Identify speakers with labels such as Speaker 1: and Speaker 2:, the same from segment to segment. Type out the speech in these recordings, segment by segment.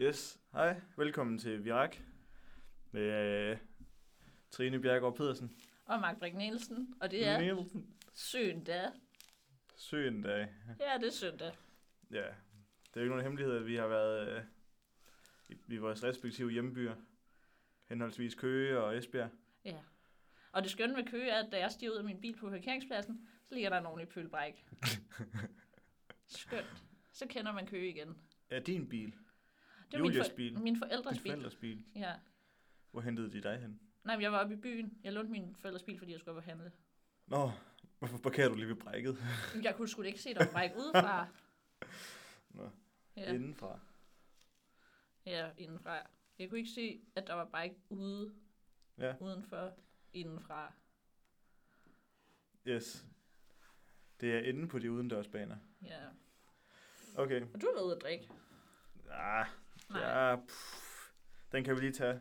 Speaker 1: Yes, hej. Velkommen til Virak med øh, Trine Bjergård Pedersen.
Speaker 2: Og Mark Brink Nielsen. Og det er
Speaker 1: Nielsen.
Speaker 2: søndag.
Speaker 1: Søndag.
Speaker 2: Ja, det er søndag.
Speaker 1: Ja, det er jo ikke nogen hemmelighed, at vi har været øh, i, i vores respektive hjembyer. Henholdsvis Køge og Esbjerg.
Speaker 2: Ja. Og det skønne ved Køge er, at da jeg stiger ud af min bil på parkeringspladsen, så ligger der en ordentlig pølbræk. Skønt. Så kender man Køge igen.
Speaker 1: Ja, din bil.
Speaker 2: Det var
Speaker 1: Julias
Speaker 2: min, for-
Speaker 1: bil.
Speaker 2: min forældres
Speaker 1: Din
Speaker 2: bil.
Speaker 1: forældres bil.
Speaker 2: Ja.
Speaker 1: Hvor hentede de dig hen?
Speaker 2: Nej, men jeg var oppe i byen. Jeg lånte min forældres bil, fordi jeg skulle op og handle.
Speaker 1: Nå, hvorfor parkerer du lige ved brækket?
Speaker 2: Jeg kunne sgu da ikke se dig brække udefra.
Speaker 1: Nå, ja.
Speaker 2: Ja.
Speaker 1: indenfra.
Speaker 2: ja, indenfra. Jeg kunne ikke se, at der var bræk ude.
Speaker 1: Ja.
Speaker 2: Udenfor. Indenfra.
Speaker 1: Yes. Det er inde på de udendørsbaner.
Speaker 2: Ja.
Speaker 1: Okay.
Speaker 2: Og du har været ude at drikke.
Speaker 1: Ah,
Speaker 2: Nej.
Speaker 1: Ja, pff, den kan vi lige tage.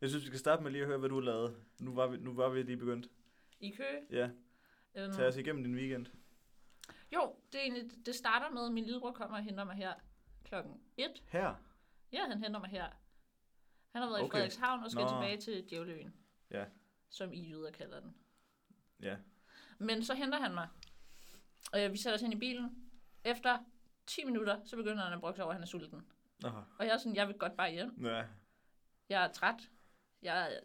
Speaker 1: Jeg synes, vi skal starte med lige at høre, hvad du lavede. Nu var vi, nu var vi lige begyndt.
Speaker 2: I Køge.
Speaker 1: Ja,
Speaker 2: Øhm,
Speaker 1: tag os igennem din weekend.
Speaker 2: Jo, det, er egentlig, det starter med, at min lillebror kommer og henter mig her klokken 1.
Speaker 1: Her?
Speaker 2: Ja, han henter mig her. Han har været okay. i
Speaker 1: Okay.
Speaker 2: Frederikshavn og skal
Speaker 1: Nå.
Speaker 2: Nå. tilbage til Djævleøen.
Speaker 1: Ja.
Speaker 2: Som I jyder kalder den.
Speaker 1: Ja.
Speaker 2: Men så henter han mig. Og øh, vi sætter os ind i bilen. Efter 10 minutter, så begynder han at brokke sig over, at han er sulten.
Speaker 1: Nå,
Speaker 2: Og jeg er sådan, jeg vil godt bare hjem.
Speaker 1: ja.
Speaker 2: Jeg er træt. Jeg er,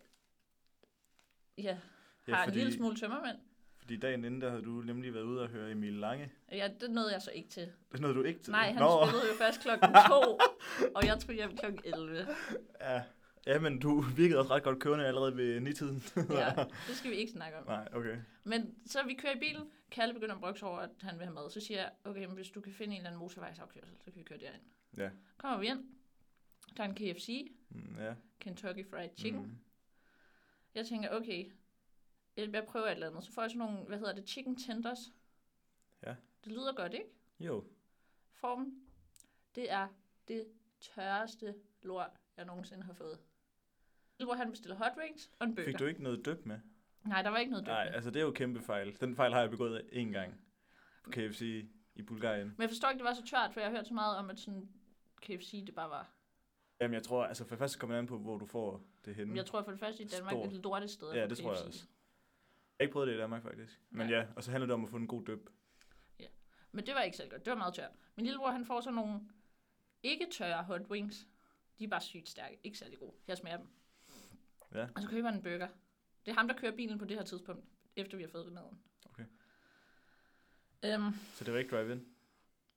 Speaker 2: ja, har
Speaker 1: ja
Speaker 2: en
Speaker 1: fordi,
Speaker 2: lille smule tømmermænd.
Speaker 1: fordi dagen inden, der havde du nemlig været ude og høre Emil Lange.
Speaker 2: Ja, det nåede jeg så ikke til.
Speaker 1: Det nåede du ikke til.
Speaker 2: Nej, han
Speaker 1: Nå,
Speaker 2: spillede jo først klokken 2, og jeg tog hjem klokken 11.
Speaker 1: ja. ja, men du virkede også ret godt kørende allerede ved nitiden.
Speaker 2: Ja, det skal vi ikke snakke om.
Speaker 1: Nej, okay.
Speaker 2: Men så vi kører i bilen, Kalle begynder at brokse over, at han vil have mad. Så siger jeg, okay, men hvis du kan finde en eller anden motorvejsafkørsel, så kan vi køre derind.
Speaker 1: Ja.
Speaker 2: Kommer vi ind, der er en KFC,
Speaker 1: Mm, Ja.
Speaker 2: Kentucky Fried Chicken. Mm.
Speaker 1: Mm.
Speaker 2: Jeg tænker, okay, jeg jeg prøver et eller andet. Så får jeg sådan nogle, hvad hedder det, chicken tenders.
Speaker 1: Ja.
Speaker 2: Det lyder godt, ikke?
Speaker 1: Jo.
Speaker 2: Formen, det er det tørreste lort, jeg nogensinde har fået. Hvor han bestiller hot wings og en burger.
Speaker 1: Fik du ikke noget dyb med?
Speaker 2: Nej, der var ikke noget
Speaker 1: Nej,
Speaker 2: døbende.
Speaker 1: altså det er jo kæmpe fejl. Den fejl har jeg begået én gang. På KFC i Bulgarien.
Speaker 2: Men jeg forstår ikke, det var så tørt, for jeg har hørt så meget om, at sådan KFC, det bare var...
Speaker 1: Jamen jeg tror, altså for det første kommer det an på, hvor du får det henne.
Speaker 2: Men jeg tror for det første i Danmark,
Speaker 1: Stor.
Speaker 2: det er det lorteste sted. at
Speaker 1: Ja,
Speaker 2: få
Speaker 1: det tror jeg
Speaker 2: KFC.
Speaker 1: også. Jeg har ikke prøvet det i Danmark, faktisk. Men
Speaker 2: Nej.
Speaker 1: ja, og så handler det om at få en god døb.
Speaker 2: Men det var ikke særlig godt. Det var meget tørt. Min lillebror, han får sådan nogle ikke tørre hot wings. De er bare sygt stærke. Ikke særlig gode. Jeg smager dem.
Speaker 1: Ja.
Speaker 2: Og så køber han en burger. Det er ham, der kører bilen på det her tidspunkt, efter vi har fået maden.
Speaker 1: Okay.
Speaker 2: Øhm,
Speaker 1: Så det var ikke drive-in?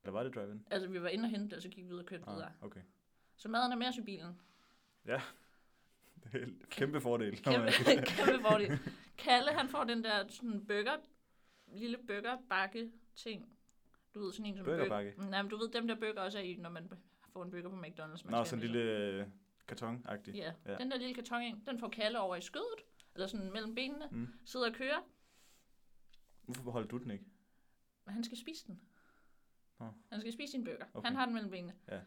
Speaker 1: Eller var det drive-in?
Speaker 2: altså, vi var inde og hente det, og så gik vi ud og kørte videre.
Speaker 1: Ah, okay.
Speaker 2: Så maden er med os i bilen.
Speaker 1: Det er en kæmpe fordel. når man-
Speaker 2: Kæmpe, kæmpe fordel. Kalle, han får den der sådan burger, lille burgerbakke ting. Du ved, sådan en som...
Speaker 1: Burgerbakke?
Speaker 2: Burger, nej, men du ved, dem der burger også er i, når man får en burger på McDonald's. man
Speaker 1: Nå,
Speaker 2: skal
Speaker 1: sådan en
Speaker 2: have
Speaker 1: lille øh, karton-agtig.
Speaker 2: med sig. Ja,
Speaker 1: Ja.
Speaker 2: den der lille karton, en, den får Kalle over i skødet, eller sådan mellem benene,
Speaker 1: Mm.
Speaker 2: sidder og kører,
Speaker 1: Hvorfor beholder du den ikke?
Speaker 2: men han skal spise den.
Speaker 1: Nå.
Speaker 2: Han skal spise sin burger.
Speaker 1: Okay.
Speaker 2: Han har den mellem benene.
Speaker 1: Ja.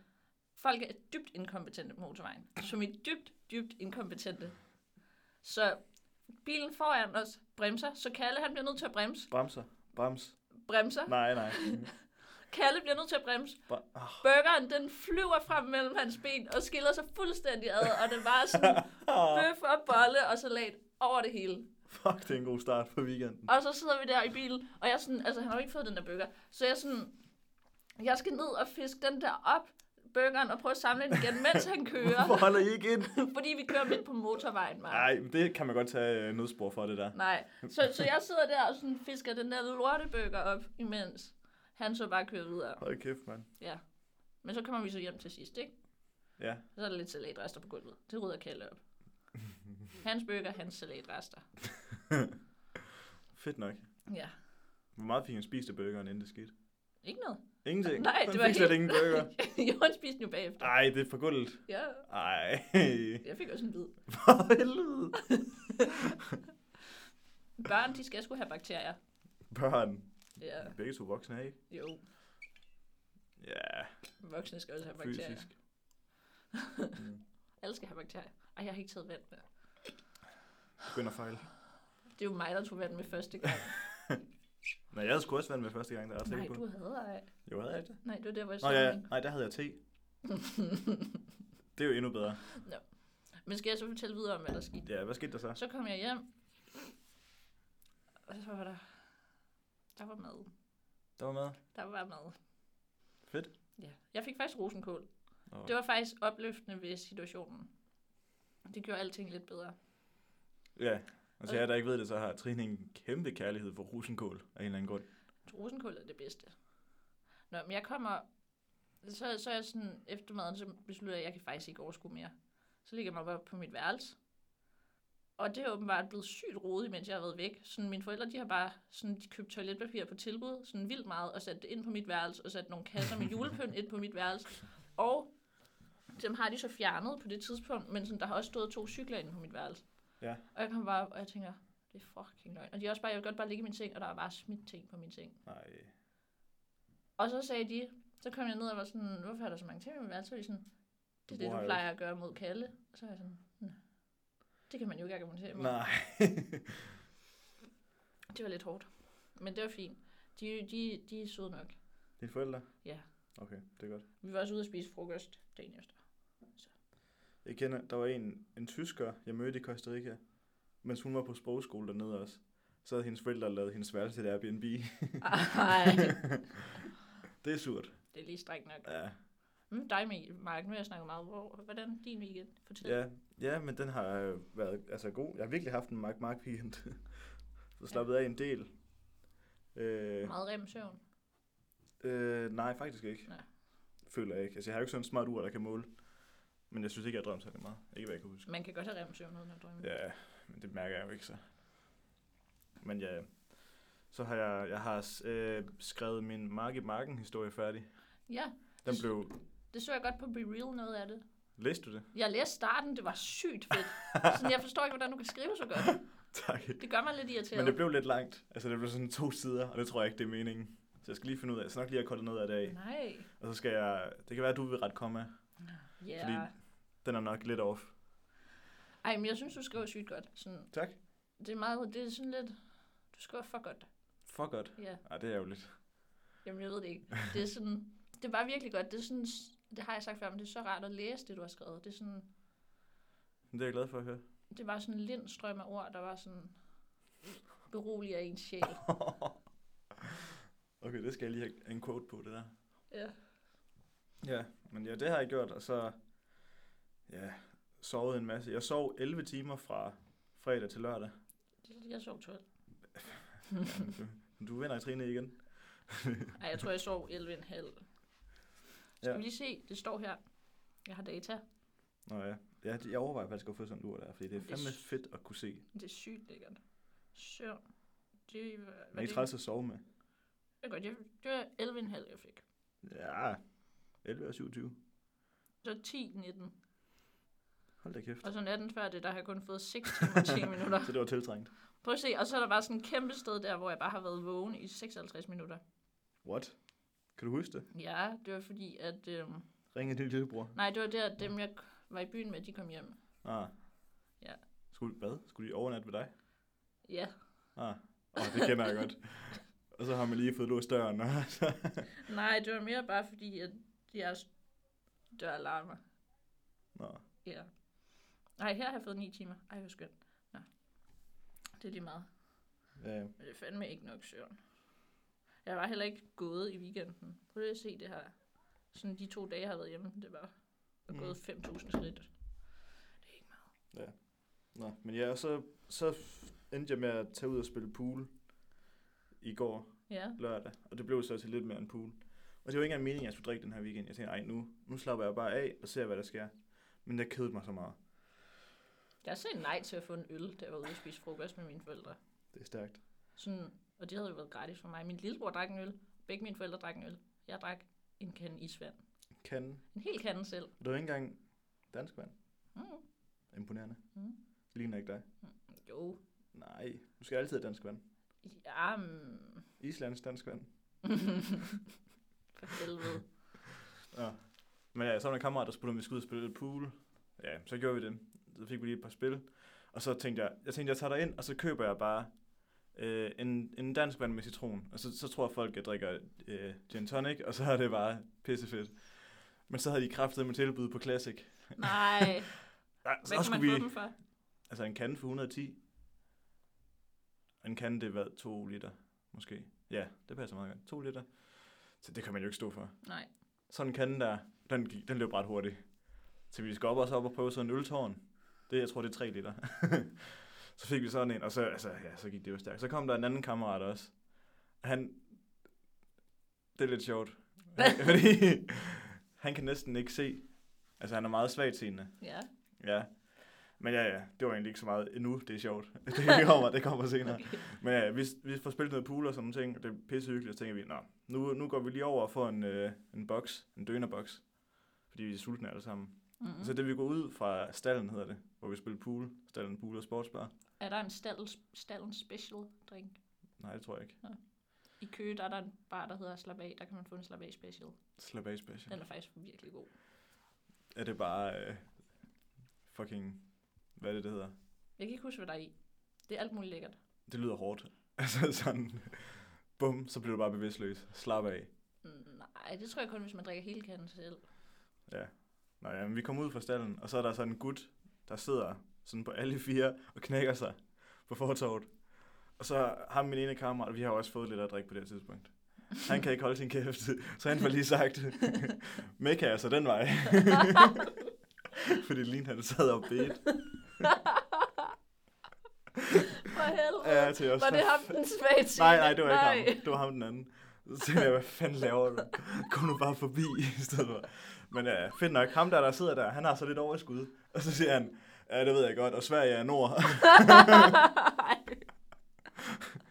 Speaker 2: Folk er dybt inkompetente på motorvejen. Som i dybt, dybt inkompetente. Så bilen foran os bremser, så Kalle han bliver nødt til at bremse.
Speaker 1: Bremser. Brems.
Speaker 2: bremser.
Speaker 1: Nej, nej.
Speaker 2: Kalle bliver nødt til at bremse.
Speaker 1: Bre- ah.
Speaker 2: Burgeren, den flyver frem mellem hans ben og skiller sig fuldstændig ad, og det var sådan bøf og bolle og salat over det hele.
Speaker 1: Fuck, det er en god start på weekenden.
Speaker 2: Og så sidder vi der i bilen, og jeg er sådan, altså han har jo ikke fået den der burger, så jeg er sådan, jeg skal ned og fiske den der op, burgeren, og prøve at samle den igen, mens han
Speaker 1: Hvorfor
Speaker 2: kører.
Speaker 1: holder I ikke ind?
Speaker 2: Fordi vi kører midt på motorvejen, Mark.
Speaker 1: Nej, men det kan man godt tage øh, nødspor for, det der.
Speaker 2: Nej, så, så jeg sidder der og sådan fisker den der lortebøger op, imens han så bare kører videre.
Speaker 1: Hold kæft, mand.
Speaker 2: Ja. Men så kommer vi så hjem til sidst, ikke?
Speaker 1: Ja.
Speaker 2: Så er der lidt salatrester på gulvet. Det rydder Kalle op. Hans burger, hans salatrester.
Speaker 1: Fedt nok.
Speaker 2: Ja.
Speaker 1: Hvor meget fik han spist af burgeren, inden det skete?
Speaker 2: Ikke noget.
Speaker 1: Ingenting.
Speaker 2: Nej,
Speaker 1: Han
Speaker 2: det var
Speaker 1: fik slet
Speaker 2: helt-
Speaker 1: ingen burger.
Speaker 2: jo, han spiste den jo bagefter.
Speaker 1: Ej, det er for gulvet.
Speaker 2: Ja,
Speaker 1: Ej.
Speaker 2: jeg fik også en bid.
Speaker 1: For helvede.
Speaker 2: Børn, de skal sgu have bakterier.
Speaker 1: Børn.
Speaker 2: Ja,
Speaker 1: Begge to voksne, ikke?
Speaker 2: jo.
Speaker 1: Ja,
Speaker 2: Voksne skal også have bakterier.
Speaker 1: fysisk. Mm.
Speaker 2: Alle skal have bakterier. Ej, jeg har ikke taget vand med.
Speaker 1: Begynder at fejle.
Speaker 2: Det er jo mig, der tog vand med første gang.
Speaker 1: Nej, jeg havde sgu også vand med første gang, der er jeg ret
Speaker 2: Nej,
Speaker 1: sikker på.
Speaker 2: du havde ej.
Speaker 1: Jo, havde jeg ikke det?
Speaker 2: Nej, det var der, hvor jeg
Speaker 1: Nå, ja,
Speaker 2: en.
Speaker 1: nej, der havde jeg te. Det er jo endnu bedre.
Speaker 2: Men skal jeg så fortælle videre om, hvad der skete?
Speaker 1: Ja, hvad skete der så?
Speaker 2: Så kom jeg hjem. Og så var der... Der var mad.
Speaker 1: Der var mad.
Speaker 2: Der var mad.
Speaker 1: Fedt.
Speaker 2: Ja. Jeg fik faktisk rosenkål.
Speaker 1: Nå.
Speaker 2: Det var faktisk opløftende ved situationen. Det gjorde alting lidt bedre.
Speaker 1: Ja, og til jer, der ikke ved det, så har Trine en kæmpe kærlighed for rosenkål af en eller anden grund.
Speaker 2: Rosenkål er det bedste. Nå, men jeg kommer... Så, så er jeg sådan, eftermiddagen, så beslutter jeg, at jeg kan faktisk ikke overskue mere. Så ligger jeg mig bare på mit værelse. Og det er åbenbart blevet sygt rodet, mens jeg har været væk. Sådan, mine forældre, de har bare sådan, de købt toiletpapir på tilbud, sådan vildt meget, og sat det ind på mit værelse, og sat nogle kasser med julepynt ind på mit værelse. Og dem har de så fjernet på det tidspunkt, men sådan, der har også stået to cykler inde på mit værelse.
Speaker 1: Ja.
Speaker 2: Og jeg kommer bare, op, og jeg tænker, det er fucking løgn. Og de er også bare, jeg vil godt bare ligge i min seng, og der er bare smidt ting på min seng.
Speaker 1: Nej.
Speaker 2: Og så sagde de, så kom jeg ned og var sådan, hvorfor er der så mange ting med værelse? Så var de sådan, det er det,
Speaker 1: bruger
Speaker 2: du
Speaker 1: jeg
Speaker 2: plejer at gøre mod Kalle. Og så var jeg sådan, "Nå, det kan man jo ikke argumentere imod.
Speaker 1: Nej.
Speaker 2: Det var lidt hårdt. Men det var fint. De, de, de er søde nok.
Speaker 1: Dine forældre?
Speaker 2: Ja.
Speaker 1: Okay, det er godt.
Speaker 2: Vi var også ude at spise frokost dagen efter.
Speaker 1: Jeg kender, der var en, en tysker, jeg mødte i Costa Rica, mens hun var på sprogskole dernede også. Så havde hendes forældre lavet hendes værelse til Airbnb.
Speaker 2: Ej,
Speaker 1: Det er surt.
Speaker 2: det er lige strengt nok.
Speaker 1: Ja.
Speaker 2: Mm, dig, Mikkel- Mark, nu har jeg snakket meget. Hvor, hvordan din weekend? Fortæl.
Speaker 1: Ja, ja, men den har øh, været altså, god. Jeg har virkelig haft en Mark Mark weekend. Så slappet af en del. Øh,
Speaker 2: Meget rem søvn.
Speaker 1: øh, nej, faktisk ikke.
Speaker 2: Nej.
Speaker 1: Føler jeg ikke. Altså, jeg har jo ikke sådan en smart ur, der kan måle. Men jeg synes ikke, jeg har drømt særlig meget. Ikke hvad jeg kan huske.
Speaker 2: Man kan godt have rem søvn uden at drømme.
Speaker 1: Ja, men det mærker jeg jo ikke så. Men ja, så har jeg, jeg har øh, skrevet min Mark i Marken historie færdig.
Speaker 2: ja,
Speaker 1: Den blev,
Speaker 2: det så jeg godt på Be Real noget af det.
Speaker 1: læste du det?
Speaker 2: Jeg læste starten, det var sygt fedt. Sådan, jeg forstår ikke, hvordan du kan skrive så godt.
Speaker 1: Tak.
Speaker 2: Det gør mig lidt
Speaker 1: Men
Speaker 2: irriteret.
Speaker 1: det blev lidt langt. Altså det blev sådan to sider, og det tror jeg ikke, det er meningen. Så jeg skal lige finde ud af, jeg skal nok lige have kortet noget af det af.
Speaker 2: Nej.
Speaker 1: Og så skal jeg, det kan være, at du vil ret komme
Speaker 2: Ja.
Speaker 1: Fordi- Den er nok lidt off.
Speaker 2: Ej, men jeg synes, du skriver sygt godt. Sådan,
Speaker 1: Tak.
Speaker 2: det er meget, det er sådan lidt, du skriver for godt.
Speaker 1: For godt.
Speaker 2: Ja,
Speaker 1: Ej, det er jo lidt.
Speaker 2: jamen jeg ved det ikke. Det er sådan, det var virkelig godt. Det er sådan, det har jeg sagt før, men det er så rart at læse det, du har skrevet. Det er sådan,
Speaker 1: Men det er jeg glad for at høre.
Speaker 2: det var sådan en lindstrøm af ord, der var sådan, beroliger ens sjæl.
Speaker 1: Okay, det skal jeg lige have en quote på, det der.
Speaker 2: Ja.
Speaker 1: Ja, men ja, det har jeg gjort, og så ja, sovet en masse. Jeg sov 11 timer fra fredag til lørdag.
Speaker 2: Jeg sov 12.
Speaker 1: Jamen, du, du vinder i Trine igen.
Speaker 2: Ej, jeg tror, jeg sov 11,5. Skal
Speaker 1: Ja.
Speaker 2: vi lige se, det står her. Jeg har data.
Speaker 1: Nå ja, ja det- jeg overvejer faktisk at få sådan et ur der, fordi det er
Speaker 2: Det er
Speaker 1: fandme
Speaker 2: s-
Speaker 1: fedt at kunne se.
Speaker 2: Det er sygt lækkert. Søvn. Det var,
Speaker 1: Men
Speaker 2: var
Speaker 1: ikke
Speaker 2: det,
Speaker 1: træls at sove med.
Speaker 2: det er godt. Jeg, det var 11,5, jeg fik.
Speaker 1: Ja, 11 og 27.
Speaker 2: Så 10, 19.
Speaker 1: Hold da kæft.
Speaker 2: Og så natten før det, der har jeg kun fået 6 timer og 10 minutter.
Speaker 1: Så det var tiltrængt.
Speaker 2: Prøv at se, og så er der bare sådan et kæmpe sted der, hvor jeg bare har været vågen i 56 minutter.
Speaker 1: What? Kan du huske det?
Speaker 2: Ja, det var fordi, at... Øhm,
Speaker 1: Ringe din lillebror.
Speaker 2: nej, det var der, at dem jeg k- var i byen med, de kom hjem.
Speaker 1: Ah.
Speaker 2: Ja.
Speaker 1: Skulle, hvad? Skulle de overnatte ved dig?
Speaker 2: Ja.
Speaker 1: Ah. Oh, det kender jeg godt. Og så har man lige fået låst døren. Og så...
Speaker 2: Nej, det var mere bare fordi, at jeres dør larmer.
Speaker 1: Nå.
Speaker 2: Ja. Nej, her har jeg fået 9 timer. Ej, hvor skønt. Nå. Det er lige meget.
Speaker 1: Ja, ja.
Speaker 2: Men det er fandme ikke nok søvn. Jeg var heller ikke gået i weekenden. Prøv lige at se det her. Sådan de to dage, jeg har været hjemme, det var jeg
Speaker 1: Mm.
Speaker 2: mm. gået 5.000 skridt. Det er ikke meget.
Speaker 1: Nå, men ja, og så, så endte jeg med at tage ud og spille pool i går
Speaker 2: Ja,
Speaker 1: lørdag, og det blev så til lidt mere end pool. Og det var ikke engang meningen, at jeg skulle drikke den her weekend. Jeg tænkte, ej, nu, nu slapper jeg bare af og ser, hvad der sker. Men jeg kedede mig så meget.
Speaker 2: jeg har sagt nej til at få en øl, da jeg var ude og spise frokost med mine forældre.
Speaker 1: Det er stærkt.
Speaker 2: Sådan, og det havde jo været gratis for mig. Min lillebror drak en øl. Begge mine forældre drak en øl. Jeg drak en kande isvand.
Speaker 1: Kan.
Speaker 2: En hel kande selv.
Speaker 1: Og det var ikke engang dansk vand.
Speaker 2: Mm.
Speaker 1: Imponerende.
Speaker 2: Mm.
Speaker 1: Det ligner ikke dig.
Speaker 2: Jo.
Speaker 1: Nej, du skal altid have dansk vand.
Speaker 2: Ja, mm.
Speaker 1: Islands dansk vand.
Speaker 2: for helvede.
Speaker 1: Ja. Men ja, så var der en kammerat, der spurgte, om vi skulle ud og spille lidt pool. Ja, så gjorde vi det. Så fik vi lige et par spil. Og så tænkte jeg, jeg tænkte, jeg tager dig ind, og så køber jeg bare øh, en, en dansk vand med citron. Og så, så tror folk, jeg drikker øh, gin tonic, og så er det bare pissefedt. Men så havde de kraftet med tilbud på Classic.
Speaker 2: Nej,
Speaker 1: Ja,
Speaker 2: hvad
Speaker 1: så
Speaker 2: kan man
Speaker 1: skulle
Speaker 2: få
Speaker 1: vi...
Speaker 2: dem for?
Speaker 1: Altså en kande for 110. Og En kande, det er hvad? 2 liter, måske. Ja, det passer meget godt. 2 liter. Så det kan man jo ikke stå for.
Speaker 2: Nej.
Speaker 1: Sådan en kande der, den, gik- den løb ret hurtigt. Så vi skal op og så op og prøve sådan en øltårn. Det, jeg tror, det er 3 liter. så fik vi sådan en, og så, altså, ja, så gik det jo stærkt. Så kom der en anden kammerat også. Han, det er lidt sjovt. fordi han kan næsten ikke se. Altså, han er meget svagtseende.
Speaker 2: Ja,
Speaker 1: Ja. Men ja, ja, det var egentlig ikke så meget endnu, det er sjovt. Det kommer, det kommer senere.
Speaker 2: okay.
Speaker 1: Men ja, vi, vi får spillet noget pool og sådan nogle ting, og det er pisse hyggeligt, så tænker vi, nå, nu, nu går vi lige over og får en, øh, en boks, en dønerboks, fordi vi er sultne alle sammen. Mm.
Speaker 2: Mm-hmm.
Speaker 1: Så det vi går ud fra stallen, hedder det, hvor vi spiller pool, stallen, pool og sportsbar.
Speaker 2: Er der en stallens, stallens special drink?
Speaker 1: Nej, det tror jeg ikke.
Speaker 2: I Køge, der er der en bar, der hedder Slap af. Der kan man få en Slap af special.
Speaker 1: Slap af special.
Speaker 2: Den er faktisk virkelig god.
Speaker 1: Er det bare øh, fucking, hvad er det, det hedder?
Speaker 2: Jeg kan ikke huske, hvad der er i. Det er alt muligt lækkert.
Speaker 1: Det lyder hårdt. Altså sådan, bum, så bliver du bare bevidstløs. Slap af.
Speaker 2: Mm, Nej, det tror jeg kun, hvis man drikker hele kanden selv.
Speaker 1: Ja. Nå ja, men vi kom ud fra stallen, og så er der sådan en gut, der sidder sådan på alle fire og knækker sig på fortorvet. Og så har min ene kammerat, vi har jo også fået lidt at drikke på det her tidspunkt. Han kan ikke holde sin kæft, så han får lige sagt, Mekka er så den vej. Fordi lige han sad og bedt.
Speaker 2: For helvede.
Speaker 1: Ja, til os.
Speaker 2: Var det ham den svage
Speaker 1: Nej, nej, det var ikke ham. Det var ham den anden. Så tænkte jeg, hvad fanden laver du? Kom nu bare forbi i stedet for. Men ja, fedt nok. Ham der, der sidder der, han har så lidt overskud. Og så siger han, ja, det ved jeg godt, og Sverige er nord.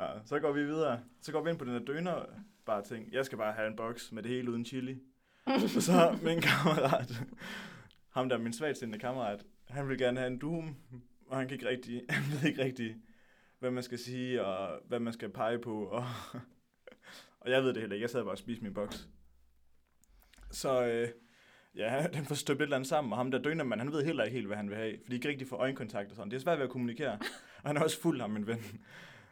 Speaker 1: ja, så går vi videre. Så går vi ind på den her døner bare ting. Jeg skal bare have en boks med det hele uden chili. og så min kammerat, ham der er min svagtstillende kammerat, han vil gerne have en doom, og han, kan ikke rigtig, han ved ikke rigtig, hvad man skal sige, og hvad man skal pege på. Og, og jeg ved det heller ikke. Jeg sad bare og spiste min boks. Så øh, ja, den får støbt et eller andet sammen, og ham der døner, man, han ved heller ikke helt, hvad han vil have, fordi de kan ikke rigtig få øjenkontakt og sådan. Det er svært ved at kommunikere, og han er også fuld, ham min ven.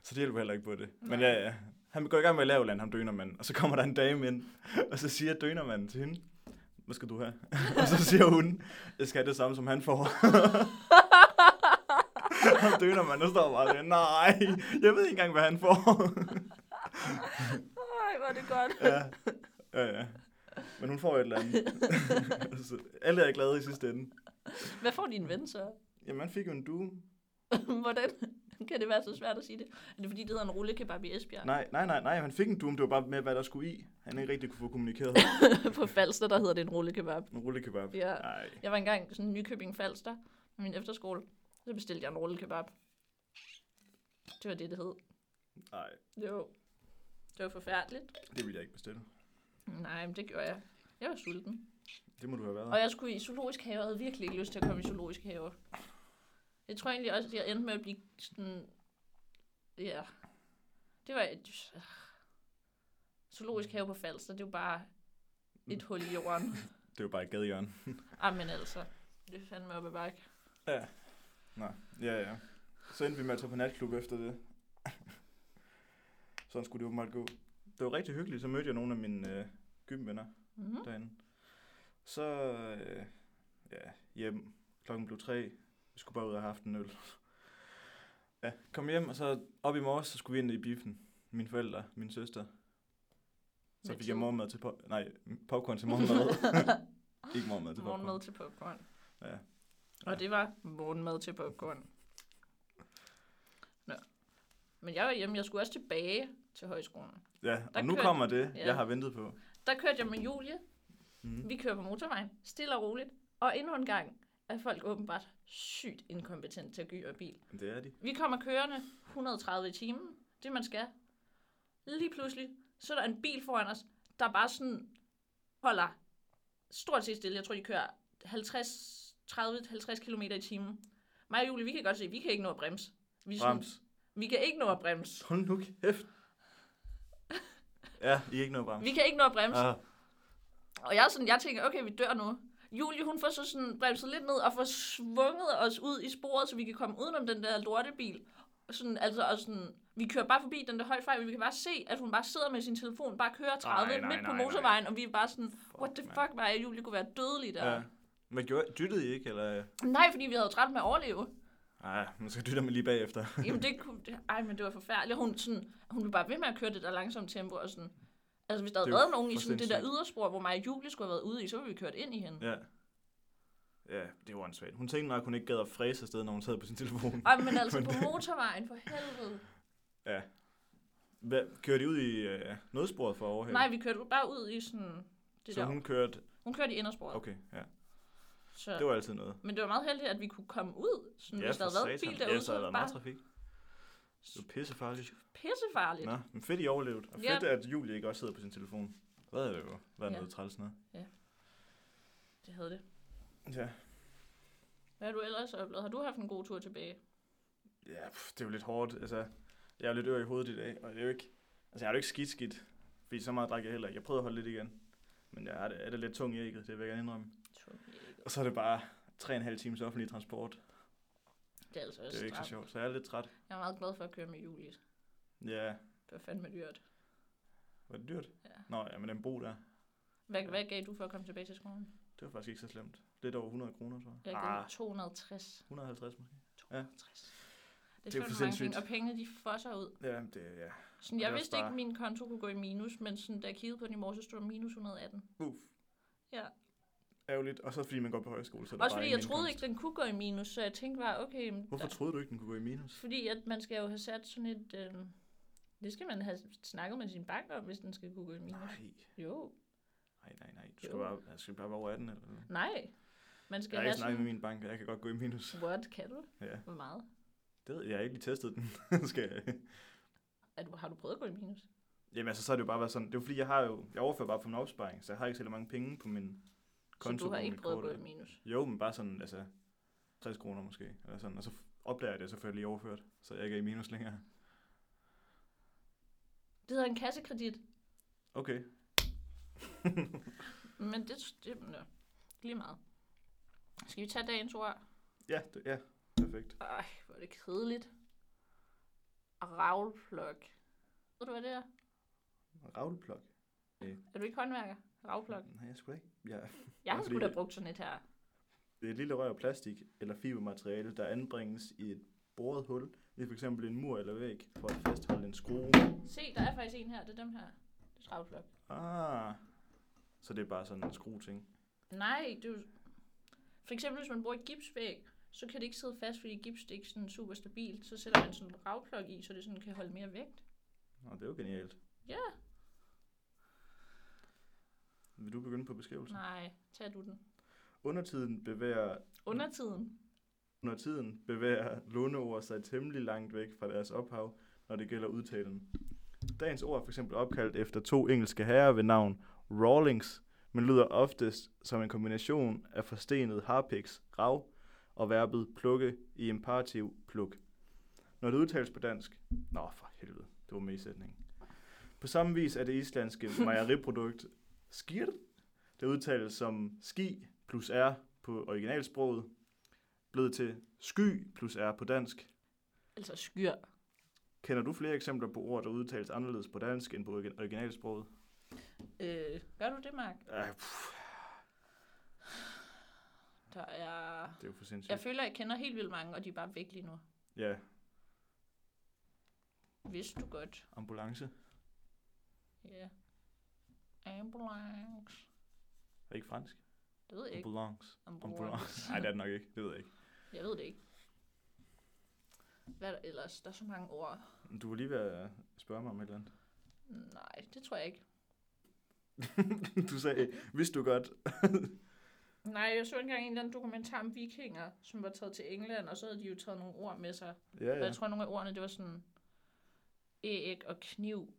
Speaker 1: Så det hjælper heller ikke på det. Men
Speaker 2: Nej.
Speaker 1: ja, ja. Han går i gang med at lave land, ham dønermanden, og så kommer der en dame ind, og så siger dønermanden til hende, hvad skal du have? og så siger hun, jeg skal have det samme, som han får. Ham dønermanden, der står bare der, nej, jeg ved ikke engang, hvad han får.
Speaker 2: Nej, var det godt.
Speaker 1: ja. ja, ja. Men hun får jo et eller andet. så alle er glade i sidste ende.
Speaker 2: Hvad får din ven så?
Speaker 1: Jamen, han fik jo en due.
Speaker 2: Hvordan kan det være så svært at sige det? Er det fordi, det hedder en rullekebab i Esbjerg?
Speaker 1: Nej, nej, nej, nej, han fik en due, men det var bare med, hvad der skulle i. Han ikke rigtig kunne få kommunikeret.
Speaker 2: På Falster, der hedder det en rullekebab.
Speaker 1: En rullekebab.
Speaker 2: Ja.
Speaker 1: Nej.
Speaker 2: Jeg var engang sådan en Nykøbing Falster med min efterskole. Så bestilte jeg en rullekebab. Det var det, det hed.
Speaker 1: Nej,
Speaker 2: Jo. Det var forfærdeligt.
Speaker 1: det ville jeg ikke bestille.
Speaker 2: Nej, men det gjorde jeg. Jeg var sulten.
Speaker 1: Det må du have været.
Speaker 2: Og jeg skulle i zoologisk have, og havde virkelig ikke lyst til at komme i zoologisk have. Jeg tror egentlig også, at jeg endte med at blive sådan... Ja. Det var... et- ah. Zoologisk have på Falster, det er jo bare et hul i jorden.
Speaker 1: Det var bare et gadehjørne.
Speaker 2: Ah, men altså. Det er fandme op ad bakke.
Speaker 1: Ja. Nå, ja, ja. Så endte vi med at tage på natklub efter det. Sådan skulle det åbenbart gå. Det var rigtig hyggeligt. Så mødte jeg nogle af mine øh, gymvenner
Speaker 2: Mm-hmm.
Speaker 1: derinde. Så øh, ja, hjem. Klokken blev tre. Vi skulle bare ud og have haft en øl. Ja, kom hjem, og så op i morges, så skulle vi ind i biffen. Mine forældre, min søster. Så fik jeg morgenmad til pop- nej, popcorn til morgenmad. Ikke morgenmad til
Speaker 2: Morgenmad
Speaker 1: popcorn.
Speaker 2: til popcorn.
Speaker 1: Ja.
Speaker 2: Og det var morgenmad til popcorn. Nå. Men jeg var hjemme. Jeg skulle også tilbage til højskolen.
Speaker 1: ja,
Speaker 2: Der
Speaker 1: og nu
Speaker 2: kørte-
Speaker 1: kommer det,
Speaker 2: ja.
Speaker 1: jeg har ventet på.
Speaker 2: Der kørte jeg med Julie
Speaker 1: Mm.
Speaker 2: Vi kører på motorvejen, stille og roligt. Og endnu en gang er folk åbenbart sygt inkompetent til at gyre bil.
Speaker 1: Det er de.
Speaker 2: Vi kommer kørende 130 i timen, det man skal. Lige pludselig, så er der en bil foran os, der bare sådan holder stort set stille. Jeg tror, de kører 50, 30-50 km i timen. Mig og Julie, vi kan godt se, vi kan ikke nå at bremse. Vi, er sådan-
Speaker 1: Brems.
Speaker 2: vi kan ikke nå at bremse.
Speaker 1: Hold nu kæft. Ja, I er ikke noget brems.
Speaker 2: Vi kan ikke nå at bremse.
Speaker 1: Ah,
Speaker 2: Og jeg, er sådan, jeg tænker, okay, vi dør nu. Julie, hun får så sådan bremset lidt ned og får svunget os ud i sporet, så vi kan komme udenom den der lortebil. Sådan, altså, og sådan, vi kører bare forbi den der højtfejl, men vi kan bare se, at hun bare sidder med sin telefon, bare kører 30
Speaker 1: Nej, nej,
Speaker 2: midt på
Speaker 1: nej, nej.
Speaker 2: motorvejen, og vi er bare sådan, what the
Speaker 1: mand.
Speaker 2: fuck, var jeg Julie kunne være dødelig der.
Speaker 1: Ja. Men gjorde, dyttede I ikke, eller?
Speaker 2: Nej, fordi vi havde jo travlt med at overleve.
Speaker 1: Nej, man skal dytte mig lige bagefter.
Speaker 2: Jamen, det kunne, det, ej, men det var forfærdeligt. Hun, sådan, hun blev bare ved med at køre det der langsomme tempo. Og sådan. Altså, hvis der havde
Speaker 1: Det er jo
Speaker 2: været nogen i sådan det der
Speaker 1: fuldstændig
Speaker 2: yderspor, hvor mig og Julie skulle have været ude i, så ville vi kørt ind i hende.
Speaker 1: ja. Ja, det var en svag. Hun tænkte nok, at hun ikke gad at fræse afsted, når hun sad på sin telefon.
Speaker 2: Ej, men altså på motorvejen, for helvede.
Speaker 1: Hvad, kørte de ud i øh, nødsporet for overhældet?
Speaker 2: Nej, vi kørte bare ud i sådan det
Speaker 1: så
Speaker 2: der. Hun,
Speaker 1: hun kørte...
Speaker 2: hun kørte i indersporet. Okay.
Speaker 1: Okay, ja.
Speaker 2: Så.
Speaker 1: Det var altid noget.
Speaker 2: Men det var meget heldigt, at vi kunne komme ud. Sådan, hvis der
Speaker 1: for
Speaker 2: havde været en
Speaker 1: satan.
Speaker 2: bil derude,
Speaker 1: ja,
Speaker 2: så
Speaker 1: så havde
Speaker 2: var
Speaker 1: der meget
Speaker 2: det bare
Speaker 1: trafik. Det var pissefarligt.
Speaker 2: pissefarligt.
Speaker 1: Nå, men fedt, I overlevede. Og
Speaker 2: Ja.
Speaker 1: fedt, at Julie ikke også sidder på sin telefon. Hvad er det jo? Hvad er
Speaker 2: Ja.
Speaker 1: noget træls noget?
Speaker 2: Det havde det.
Speaker 1: Ja.
Speaker 2: Hvad har du ellers oplevet? Har du haft en god tur tilbage?
Speaker 1: Ja, pff, det er jo lidt hårdt. Altså, jeg er jo lidt ør i hovedet i dag, og det er jo ikke... Altså, jeg er jo ikke skidt skidt, fordi så meget drak jeg heller ikke. Jeg prøvede at holde lidt igen. Men jeg er, det, er det lidt tung i ægget, det vil jeg gerne indrømme. Og så er det bare 3,5 times offentlig transport.
Speaker 2: Det er altså
Speaker 1: Det er
Speaker 2: også
Speaker 1: jo ikke så
Speaker 2: stramt.
Speaker 1: sjovt, så jeg er lidt træt.
Speaker 2: Jeg er meget glad for at køre med Julie.
Speaker 1: Ja,
Speaker 2: Det var fandme dyrt.
Speaker 1: var det dyrt?
Speaker 2: Ja.
Speaker 1: Nå, ja, men den bro der,
Speaker 2: Hvad,
Speaker 1: Ja.
Speaker 2: hvad gav du for at komme tilbage til skolen?
Speaker 1: det var faktisk ikke så slemt. Lidt over 100 kroner, tror jeg.
Speaker 2: Jeg gav
Speaker 1: Ah,
Speaker 2: ah. 260.
Speaker 1: 150 måske.
Speaker 2: 260. Det
Speaker 1: Det er jo
Speaker 2: er fandme mange
Speaker 1: sindssygt.
Speaker 2: penge, og pengene de fosser ud.
Speaker 1: Ja, men det, ja.
Speaker 2: Sådan,
Speaker 1: Og det
Speaker 2: jeg
Speaker 1: er
Speaker 2: vidste
Speaker 1: også
Speaker 2: ikke,
Speaker 1: bare-
Speaker 2: at min konto kunne gå i minus, men sådan, da jeg kiggede på den i morges, så stod der minus 118.
Speaker 1: Uff.
Speaker 2: Ja.
Speaker 1: Ærgerligt. Og så fordi man går på højskole, så er der
Speaker 2: Også
Speaker 1: bare
Speaker 2: fordi
Speaker 1: ingen
Speaker 2: jeg troede
Speaker 1: indkomst.
Speaker 2: ikke, den kunne gå i minus, så jeg tænkte bare, okay, men
Speaker 1: Hvorfor
Speaker 2: der,
Speaker 1: troede du ikke, den kunne gå i minus?
Speaker 2: fordi at man skal jo have sat sådan et... Øh, det skal man have snakket med sin bank om, hvis den skal kunne gå i minus.
Speaker 1: Nej,
Speaker 2: Jo,
Speaker 1: nej, nej, nej. Du skal,
Speaker 2: Jo.
Speaker 1: bare, jeg skal bare være over 18 eller noget.
Speaker 2: nej. Man skal
Speaker 1: Jeg har
Speaker 2: have
Speaker 1: ikke snakket
Speaker 2: sådan...
Speaker 1: med min bank, jeg kan godt gå i minus.
Speaker 2: What, kan du?
Speaker 1: Ja,
Speaker 2: Hvor meget?
Speaker 1: det ved jeg. jeg har ikke lige testet den. skal jeg.
Speaker 2: Er du, har du prøvet at gå i minus?
Speaker 1: Jamen altså, så har det jo bare været sådan, det er jo fordi, jeg har jo, jeg overfører bare på min opsparing, så jeg har ikke så mange penge på min konto.
Speaker 2: så du har
Speaker 1: på
Speaker 2: ikke
Speaker 1: mit
Speaker 2: prøvet at
Speaker 1: kort,
Speaker 2: gå i
Speaker 1: og-
Speaker 2: minus?
Speaker 1: Jo, men bare sådan, altså 60 kroner måske, eller sådan, og så f- opdager jeg det, og så får jeg lige overført, så jeg ikke er i minus længere.
Speaker 2: Det hedder en kassekredit.
Speaker 1: Okay,
Speaker 2: Men det, det nå, lige meget. Skal vi tage dagens ord?
Speaker 1: ja, det, ja, perfekt.
Speaker 2: Ej, hvor er det kedeligt. Ravlplok. Ved du, hvad det er?
Speaker 1: Ravleplok?
Speaker 2: Er du ikke håndværker? Ravlplok.
Speaker 1: Nej, jeg skulle ikke. Ja.
Speaker 2: Jeg har
Speaker 1: fordi-
Speaker 2: sgu da brugt sådan et her.
Speaker 1: Det er et lille rør af plastik eller fibermateriale, der anbringes i et boret hul i f.eks. en mur eller væg for at fastholde en skrue.
Speaker 2: Se, der er faktisk en her. Det er dem her. Det er ravlplok.
Speaker 1: Ah, så det er bare sådan en skrueting.
Speaker 2: Nej, det er jo... For eksempel, hvis man bruger et gipsvæg, så kan det ikke sidde fast, fordi gips det er ikke sådan super stabilt. Så sætter man sådan en ravplok i, så det sådan kan holde mere vægt.
Speaker 1: Nå, det er jo genialt.
Speaker 2: Ja.
Speaker 1: Vil du begynde på beskrivelsen?
Speaker 2: Nej, tag du den.
Speaker 1: Undertiden bevæger,
Speaker 2: Undertiden.
Speaker 1: undertiden bevæger låneord sig temmelig langt væk fra deres ophav, når det gælder udtalen. Dagens ord er f.eks. opkaldt efter to engelske herrer ved navn Rawlings, men lyder oftest som en kombination af forstenet harpiks, rav, og verbet plukke i imperativ pluk. Når det udtales på dansk... Nå, for helvede, det var med i sætningen. På samme vis er det islandske mejeriprodukt skir, der udtales som ski plus r på originalsproget, blevet til sky plus r på dansk.
Speaker 2: Altså skyr.
Speaker 1: Kender du flere eksempler på ord, der udtales anderledes på dansk end på origi- originalsproget?
Speaker 2: Øh, gør du det, Mark?
Speaker 1: Ej, pff,
Speaker 2: Der er...
Speaker 1: det er jo for
Speaker 2: Jeg
Speaker 1: sindssygt.
Speaker 2: føler, jeg kender helt vildt mange, og de er bare væk lige nu.
Speaker 1: Ja,
Speaker 2: Vidste du godt?
Speaker 1: ambulance.
Speaker 2: Ja. Ambulance.
Speaker 1: Er det ikke fransk?
Speaker 2: Det ved jeg ikke.
Speaker 1: Ambulance. Ambulance.
Speaker 2: Ambulance.
Speaker 1: Nej, det er det nok ikke. Det ved jeg ikke.
Speaker 2: Jeg ved det ikke. Hvad er der ellers? Der er så mange ord.
Speaker 1: Du var lige ved at spørge mig om et eller andet.
Speaker 2: Nej, det tror jeg ikke.
Speaker 1: du sagde, vidste du godt?
Speaker 2: Nej, jeg så engang en eller anden dokumentar om vikinger, som var taget til England, og så havde de jo taget nogle ord med sig.
Speaker 1: Ja,
Speaker 2: Og
Speaker 1: ja.
Speaker 2: jeg tror, nogle af ordene, det var sådan æg og kniv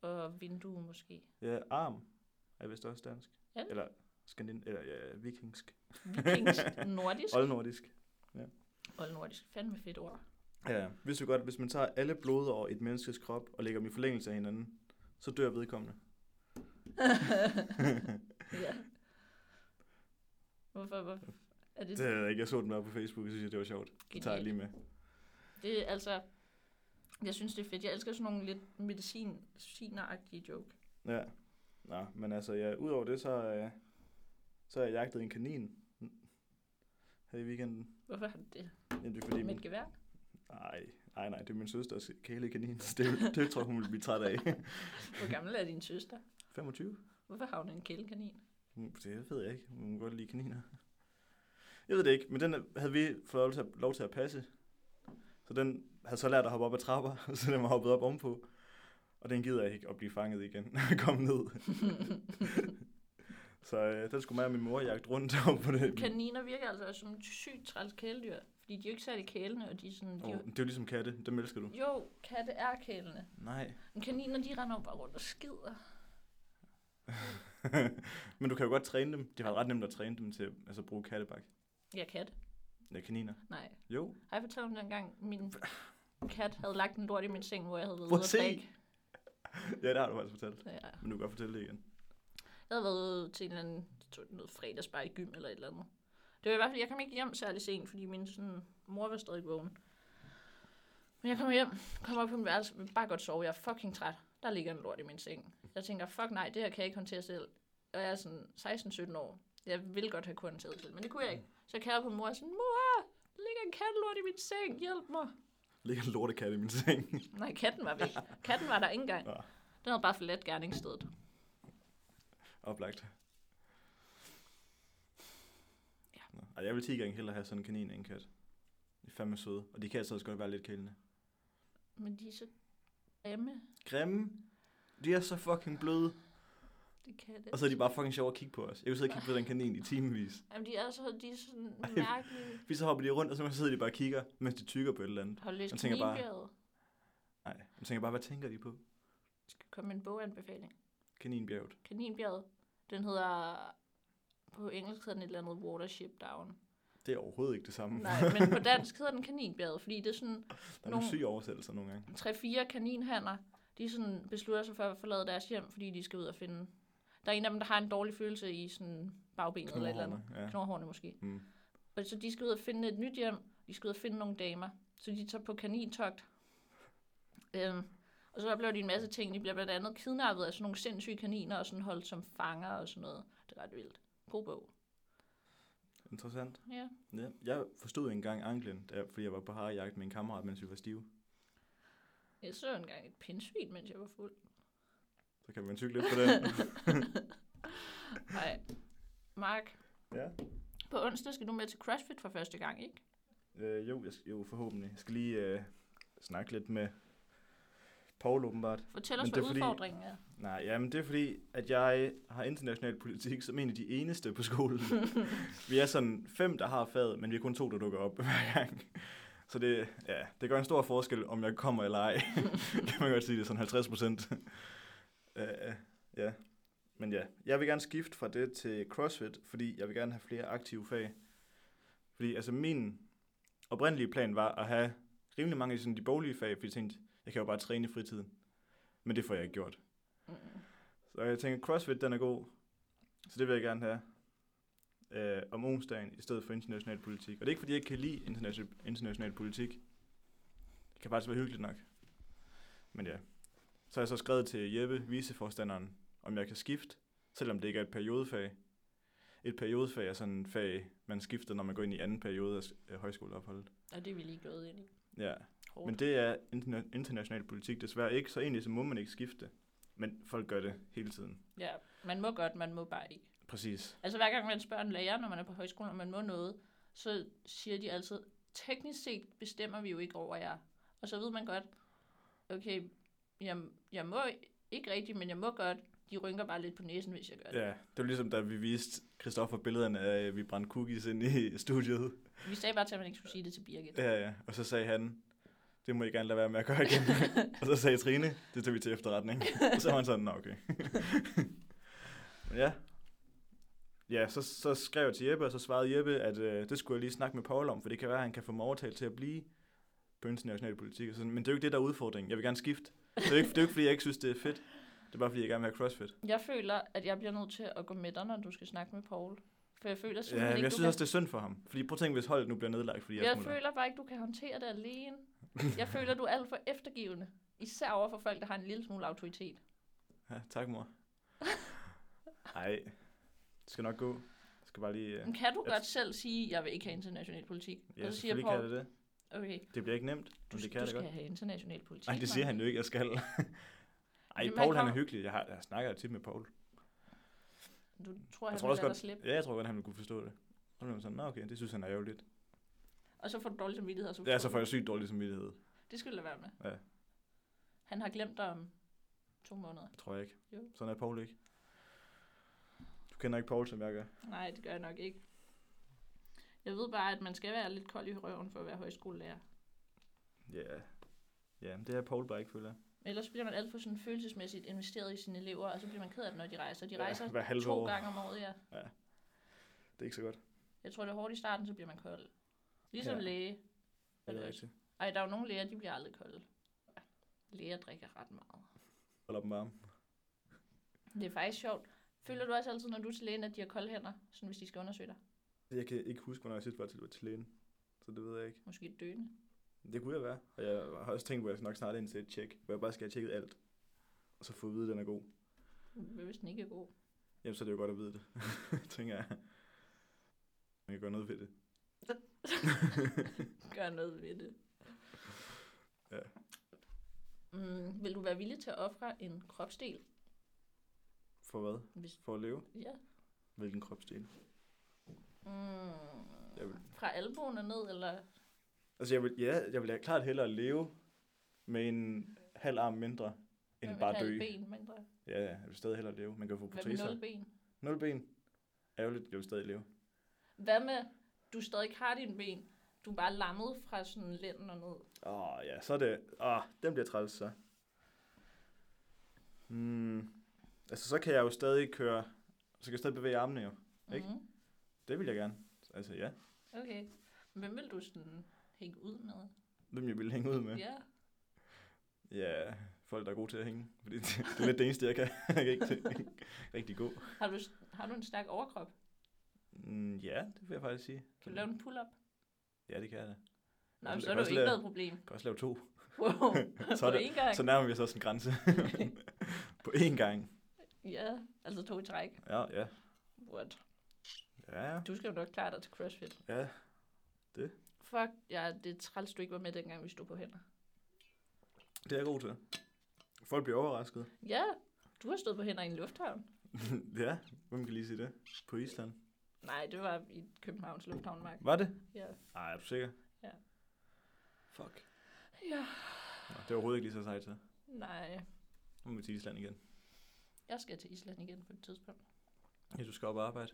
Speaker 2: og vindue måske.
Speaker 1: Ja, arm er vist også dansk.
Speaker 2: Er det?
Speaker 1: Eller, skandin eller ja, vikingsk.
Speaker 2: Vikings, nordisk.
Speaker 1: Oldnordisk.
Speaker 2: Oldnordisk. Fandme fedt ord.
Speaker 1: Ja, vidste du godt, at hvis man tager alle blodår i et menneskes krop og lægger dem i forlængelse af hinanden, så dør vedkommende.
Speaker 2: ja. Hvorfor, hvorfor? Er det,
Speaker 1: Det ved jeg ikke. Jeg så den bare på Facebook, og synes, jeg, det var sjovt. Det tager jeg
Speaker 2: Genialt.
Speaker 1: lige med.
Speaker 2: det er altså, Jeg synes, det er fedt. Jeg elsker sådan nogle lidt medicin-agtige joke.
Speaker 1: Ja. Nå, men altså, ja, udover det, så, øh, så har jeg jagtet en kanin her i weekenden.
Speaker 2: Hvorfor har du det?
Speaker 1: Jamen, det er fordi,
Speaker 2: Med et
Speaker 1: min,
Speaker 2: gevær?
Speaker 1: nej, nej, nej, det er min søsters kælekanin, så det, det tror jeg, hun vil blive træt af.
Speaker 2: Hvor gammel er din søster?
Speaker 1: 25?
Speaker 2: Hvorfor har hun en kælekanin?
Speaker 1: Hun- Det ved jeg ikke. Hun kan godt lide kaniner. Jeg ved det ikke, men den havde vi fået lov til at, lov til at passe. Så den havde så lært at hoppe op ad trapper, så den var hoppet op ovenpå. Og den gider jeg ikke at blive fanget igen, når jeg kom ned. så øh, den skulle mig og min mor jagte rundt om på det.
Speaker 2: Kaniner virker altså også som et sygt træls kæledyr, fordi de er jo ikke særlig kælende, og de er sådan... De er
Speaker 1: Oh,
Speaker 2: jo,
Speaker 1: det er jo ligesom katte, dem elsker du.
Speaker 2: jo, katte er kælende.
Speaker 1: Nej.
Speaker 2: Men kaniner, de render jo bare rundt og skider.
Speaker 1: men du kan jo godt træne dem. Det var ret nemt at træne dem til altså, at bruge kattebak.
Speaker 2: Ja, katte.
Speaker 1: Ja, kaniner.
Speaker 2: Nej.
Speaker 1: Jo.
Speaker 2: Har jeg fortalt om dengang, min kat havde lagt en lort i min seng, hvor jeg havde været
Speaker 1: Prøv
Speaker 2: ude
Speaker 1: at
Speaker 2: at
Speaker 1: se.
Speaker 2: drikke.
Speaker 1: Ja, det har du faktisk fortalt.
Speaker 2: Ja.
Speaker 1: Men du kan godt fortælle det igen.
Speaker 2: Jeg havde været ude til en eller anden, jeg tror, noget fredagsbar i gym eller et eller andet. Det var i hvert fald, jeg kom ikke hjem særlig sent, fordi min sådan, mor var stadig vågen. Men jeg kom hjem, kom op på min værelse, vil bare godt sove, jeg er fucking træt. Der ligger en lort i min seng. Jeg tænker, fuck nej, det her kan jeg ikke håndtere selv. Og jeg er sådan 16-17 år. Jeg vil godt have kunnet håndtere det selv, men det kunne jeg ikke. Så jeg kalder på mor og sådan, mor, der ligger en kattelort i min seng, hjælp mig.
Speaker 1: ligger en lortekat i min seng.
Speaker 2: Nej, katten var væk. Katten var der ikke engang.
Speaker 1: Nå.
Speaker 2: Den havde bare forladt gerningsstedet.
Speaker 1: Oplagt.
Speaker 2: Ja.
Speaker 1: Nå. Ej, jeg vil 10 gange hellere have sådan en kanin end en kat. De er fandme søde, og de kan altså også godt være lidt kælende.
Speaker 2: Men de er så grimme,
Speaker 1: Grimme. De er så fucking bløde,
Speaker 2: de katte.
Speaker 1: og så er de bare fucking sjove at kigge på os. Jeg vil sidde og kigge på den kanin i timevis.
Speaker 2: Jamen, de er, så, de er sådan
Speaker 1: Ej.
Speaker 2: mærkelige.
Speaker 1: Fordi så hopper de rundt, og så sidder de bare og kigger, mens de tykker på et eller andet.
Speaker 2: Har du læst
Speaker 1: Jeg tænker bare-
Speaker 2: Kniebjerget?
Speaker 1: Nej, jeg tænker bare, hvad tænker de på?
Speaker 2: Der skal komme en boganbefaling.
Speaker 1: Kaninbjerget.
Speaker 2: Kaninbjerget, den hedder... På engelsk hedder den et eller andet Watership Down.
Speaker 1: Det er overhovedet ikke det samme.
Speaker 2: Nej, men på dansk hedder den Kaninbjerget, fordi det er sådan
Speaker 1: Der er nogle
Speaker 2: nogen-
Speaker 1: syge oversættelser nogle gange.
Speaker 2: 3-4 kaninhanner, de sådan beslutter sig for at forlade deres hjem, fordi de skal ud og finde... Der er en af dem, der har en dårlig følelse i sådan bagbenet eller et eller andet.
Speaker 1: Knurhårene, Ja.
Speaker 2: Knorhårene måske.
Speaker 1: Mm.
Speaker 2: Og så de skal ud og finde et nyt hjem. De skal ud og finde nogle damer. Så de tager på kanintogt. Øhm, og så oplever de en masse ting. De bliver blandt andet kidnappet af sådan nogle sindssyge kaniner, og sådan holdt som fanger og sådan noget. Det er ret vildt. God bog.
Speaker 1: Interessant.
Speaker 2: Ja.
Speaker 1: Ja, jeg forstod engang anklen, da jeg, fordi jeg var på harejagt med en kammerat, mens vi var stive.
Speaker 2: Jeg så engang et pindsvin, mens jeg var fuld.
Speaker 1: Så kan man tygge lidt på den.
Speaker 2: Nej. Mark,
Speaker 1: ja.
Speaker 2: på onsdag skal du med til CrossFit for første gang, ikke?
Speaker 1: Øh, jo, jeg skal, jo, forhåbentlig. Jeg skal lige øh, snakke lidt med Paul åbenbart.
Speaker 2: Fortæl os,
Speaker 1: Men
Speaker 2: hvad
Speaker 1: det er fordi-
Speaker 2: udfordringen er.
Speaker 1: Nej, jamen det er fordi, at jeg har international politik som en af de eneste på skolen. vi er sådan fem, der har faget, men vi er kun to, der dukker op hver gang. Så det, ja, det gør en stor forskel, om jeg kommer eller ej. kan man godt sige, det er sådan 50 procent. uh, ja. Men ja, jeg vil gerne skifte fra det til CrossFit, fordi jeg vil gerne have flere aktive fag. Fordi altså min oprindelige plan var at have rimelig mange af sådan, de boglige fag, fordi jeg tænkte, jeg kan jo bare træne i fritiden. Men det får jeg ikke gjort.
Speaker 2: Mm.
Speaker 1: Så jeg tænker, CrossFit den er god, så det vil jeg gerne have øh, om onsdagen i stedet for international politik. Og det er ikke, fordi jeg ikke kan lide international, international politik. Det kan faktisk være hyggeligt nok. Men ja. Så har jeg så skrevet til Jeppe, viceforstanderen, om jeg kan skifte, selvom det ikke er et periodefag. Et periodefag er sådan en fag, man skifter, når man går ind i anden periode af s- af højskoleopholdet.
Speaker 2: Og det er vi lige gået ind i.
Speaker 1: Ja.
Speaker 2: Hårdt.
Speaker 1: Men det er interna- international politik desværre ikke, så egentlig så må man ikke skifte. Men folk gør det hele tiden.
Speaker 2: Ja, man må godt, man må bare ikke.
Speaker 1: Præcis.
Speaker 2: Altså hver gang man spørger en lærer, når man er på højskolen, om man må noget, så siger de altid, teknisk set bestemmer vi jo ikke over jer. Og så ved man godt, okay, jeg, jeg må ikke rigtigt, men jeg må godt. De rynker bare lidt på næsen, hvis jeg gør det.
Speaker 1: Ja, det var ligesom, da vi viste Christoffer billederne af, at vi brændte cookies ind i studiet.
Speaker 2: Vi sagde bare til, at man ikke skulle sige det til Birgit.
Speaker 1: Ja, ja. Og så sagde han, det må I gerne lade være med at gøre igen. og så sagde Trine, det tager vi til efterretning. og så var han sådan, "Nå, okay. Men ja. Ja, så, så skrev jeg til Jeppe, og så svarede Jeppe, at øh, det skulle jeg lige snakke med Paul om, for det kan være, at han kan få mig overtalt til at blive på international politik. Og sådan, men det er jo ikke det, der er udfordringen. Jeg vil gerne skifte. Det er jo ikke, det er jo ikke fordi jeg ikke synes, det er fedt. Det er bare, fordi jeg gerne vil have CrossFit.
Speaker 2: Jeg føler, at jeg bliver nødt til at gå med dig, når du skal snakke med Paul. For jeg føler
Speaker 1: Ja,
Speaker 2: simpelthen
Speaker 1: men
Speaker 2: ikke,
Speaker 1: jeg
Speaker 2: du
Speaker 1: synes
Speaker 2: kan...
Speaker 1: også, det er synd for ham. Fordi prøv at tænke, hvis holdet nu bliver nedlagt, fordi jeg,
Speaker 2: jeg
Speaker 1: smutter.
Speaker 2: føler bare ikke, du kan håndtere det alene. Jeg føler, du er alt for eftergivende. Især over for folk, der har en lille smule autoritet.
Speaker 1: Ja, tak, mor. Nej, det skal nok gå. Jeg skal bare lige... øh,
Speaker 2: Men kan du
Speaker 1: Jeg-
Speaker 2: godt selv sige, jeg vil ikke have international politik?
Speaker 1: Ja,
Speaker 2: og så siger
Speaker 1: selvfølgelig kan
Speaker 2: Paul,
Speaker 1: det det.
Speaker 2: okay,
Speaker 1: Det bliver ikke nemt,
Speaker 2: du,
Speaker 1: men det
Speaker 2: det
Speaker 1: kan
Speaker 2: du
Speaker 1: jeg da
Speaker 2: skal
Speaker 1: godt.
Speaker 2: have international politik.
Speaker 1: Nej, det siger han jo ikke, jeg skal. Ej,
Speaker 2: Jamen, han
Speaker 1: Paul han er
Speaker 2: kommer-
Speaker 1: hyggelig. Jeg, har, jeg snakker tit med Paul.
Speaker 2: Martin. Du tror,
Speaker 1: Jeg
Speaker 2: han
Speaker 1: tror også
Speaker 2: vil lade dig
Speaker 1: godt-
Speaker 2: slippe.
Speaker 1: Ja, jeg tror godt, han ville kunne forstå det. Så blev han sådan, nå okay, det synes han er ærgerligt.
Speaker 2: Og så får du dårlig samvittighed. Og så
Speaker 1: Det er så for jeg sygt dårlig samvittighed.
Speaker 2: Det skal du lade være med.
Speaker 1: Ja.
Speaker 2: Han har glemt dig om to måneder.
Speaker 1: Det tror jeg ikke.
Speaker 2: Jo.
Speaker 1: Sådan er Paul ikke. Du kender ikke Paul, som jeg gør.
Speaker 2: Nej, det gør jeg nok ikke. Jeg ved bare, at man skal være lidt kold i røven for at være højskolelærer.
Speaker 1: Ja. Ja, men det er Paul bare ikke, føler jeg.
Speaker 2: Ellers bliver man alt for sådan følelsesmæssigt investeret i sine elever, og så bliver man ked af dem, når de rejser. De
Speaker 1: Ja,
Speaker 2: rejser
Speaker 1: hver halve
Speaker 2: to
Speaker 1: år.
Speaker 2: gange om året, ja.
Speaker 1: Det er ikke så godt.
Speaker 2: Jeg tror, det er hårdt i starten, så bliver man kold. Ligesom
Speaker 1: Ja.
Speaker 2: ja. læge. Er
Speaker 1: Det
Speaker 2: det
Speaker 1: er
Speaker 2: også.
Speaker 1: rigtigt.
Speaker 2: Ej, der er jo nogle læger, de bliver aldrig kolde. Læger drikker ret meget.
Speaker 1: Hold dem varme.
Speaker 2: Det er faktisk sjovt. Føler du også altid, når du er til lægen, at de har kolde hænder, sådan hvis de skal undersøge dig?
Speaker 1: Jeg kan ikke huske, hvornår jeg sidst var til, til lægen. Så det ved jeg ikke.
Speaker 2: Måske døende.
Speaker 1: Det kunne jeg være. Og jeg har også tænkt på, at jeg skal nok snart ind til et tjek, hvor jeg bare skal have tjekket alt. Og så få at vide, at den er god.
Speaker 2: Hvad hvis den ikke er god?
Speaker 1: Jamen, så er det jo godt at vide det, tænker jeg. Man kan gøre noget ved det.
Speaker 2: Gør noget ved det.
Speaker 1: Ja.
Speaker 2: Mm, vil du være villig til at ofre en kropsdel?
Speaker 1: For hvad?
Speaker 2: Hvis,
Speaker 1: For at leve?
Speaker 2: ja.
Speaker 1: Hvilken kropsdel?
Speaker 2: Mm,
Speaker 1: Jeg vil,
Speaker 2: fra albuen og ned, eller?
Speaker 1: altså, jeg vil, ja, jeg vil da klart hellere leve med en halv arm mindre, end
Speaker 2: Hvad med
Speaker 1: bare
Speaker 2: et halvt
Speaker 1: dø.
Speaker 2: ben mindre?
Speaker 1: Ja, ja, jeg vil stadig hellere leve. Man kan jo få
Speaker 2: Hvad med
Speaker 1: proteser.
Speaker 2: nul ben?
Speaker 1: Nul ben. Ærgerligt, jeg vil stadig leve.
Speaker 2: Hvad med, du stadig har dine ben, du er bare lammet fra sådan lænden og ned?
Speaker 1: Åh, ja, så er det... Åh, den bliver træls, så. Mm. Altså, så kan jeg jo stadig køre... Så kan jeg stadig bevæge armene, jo. Ikke?
Speaker 2: Mhm.
Speaker 1: Det vil jeg gerne. Altså, ja.
Speaker 2: Okay. Hvem vil du sådan hænge ud med?
Speaker 1: Hvem jeg ville hænge ud med.
Speaker 2: Ja.
Speaker 1: Ja, folk, der er gode til at hænge. Fordi det, det er lidt det eneste, jeg kan. jeg kan ikke tænke rigtig god.
Speaker 2: Har du, har du en stærk overkrop?
Speaker 1: Mm, ja, det vil jeg faktisk sige.
Speaker 2: Kan du lave en pull-up?
Speaker 1: Ja, det kan jeg da.
Speaker 2: Nej,
Speaker 1: kan
Speaker 2: så er det
Speaker 1: også
Speaker 2: jo ikke
Speaker 1: lave-
Speaker 2: noget problem.
Speaker 1: Jeg kan også lave to.
Speaker 2: Wow.
Speaker 1: Så er
Speaker 2: På
Speaker 1: det-
Speaker 2: én gang.
Speaker 1: Så nærmer vi os også en grænse. På én gang.
Speaker 2: Ja, altså to i træk.
Speaker 1: Ja, ja.
Speaker 2: What?
Speaker 1: Ja,
Speaker 2: Du skal jo nok klare dig til CrossFit.
Speaker 1: ja.
Speaker 2: Fuck, ja, det er træls, du ikke var med, dengang vi stod på hænder.
Speaker 1: Det er jeg god til. Folk bliver overrasket.
Speaker 2: Ja, du har stået på hænder i en lufthavn.
Speaker 1: ja, hvem kan lige sige det? På Island.
Speaker 2: Nej, det var i Københavns Lufthavn, Mark.
Speaker 1: Var det?
Speaker 2: Ja.
Speaker 1: Nej, er du sikker?
Speaker 2: Ja.
Speaker 1: Fuck.
Speaker 2: ja.
Speaker 1: Nå, det er overhovedet ikke lige så sejt til.
Speaker 2: Nej,
Speaker 1: Nu må vi til Island igen.
Speaker 2: jeg skal til Island igen på et tidspunkt. Mm,
Speaker 1: Ja, du skal op og arbejde.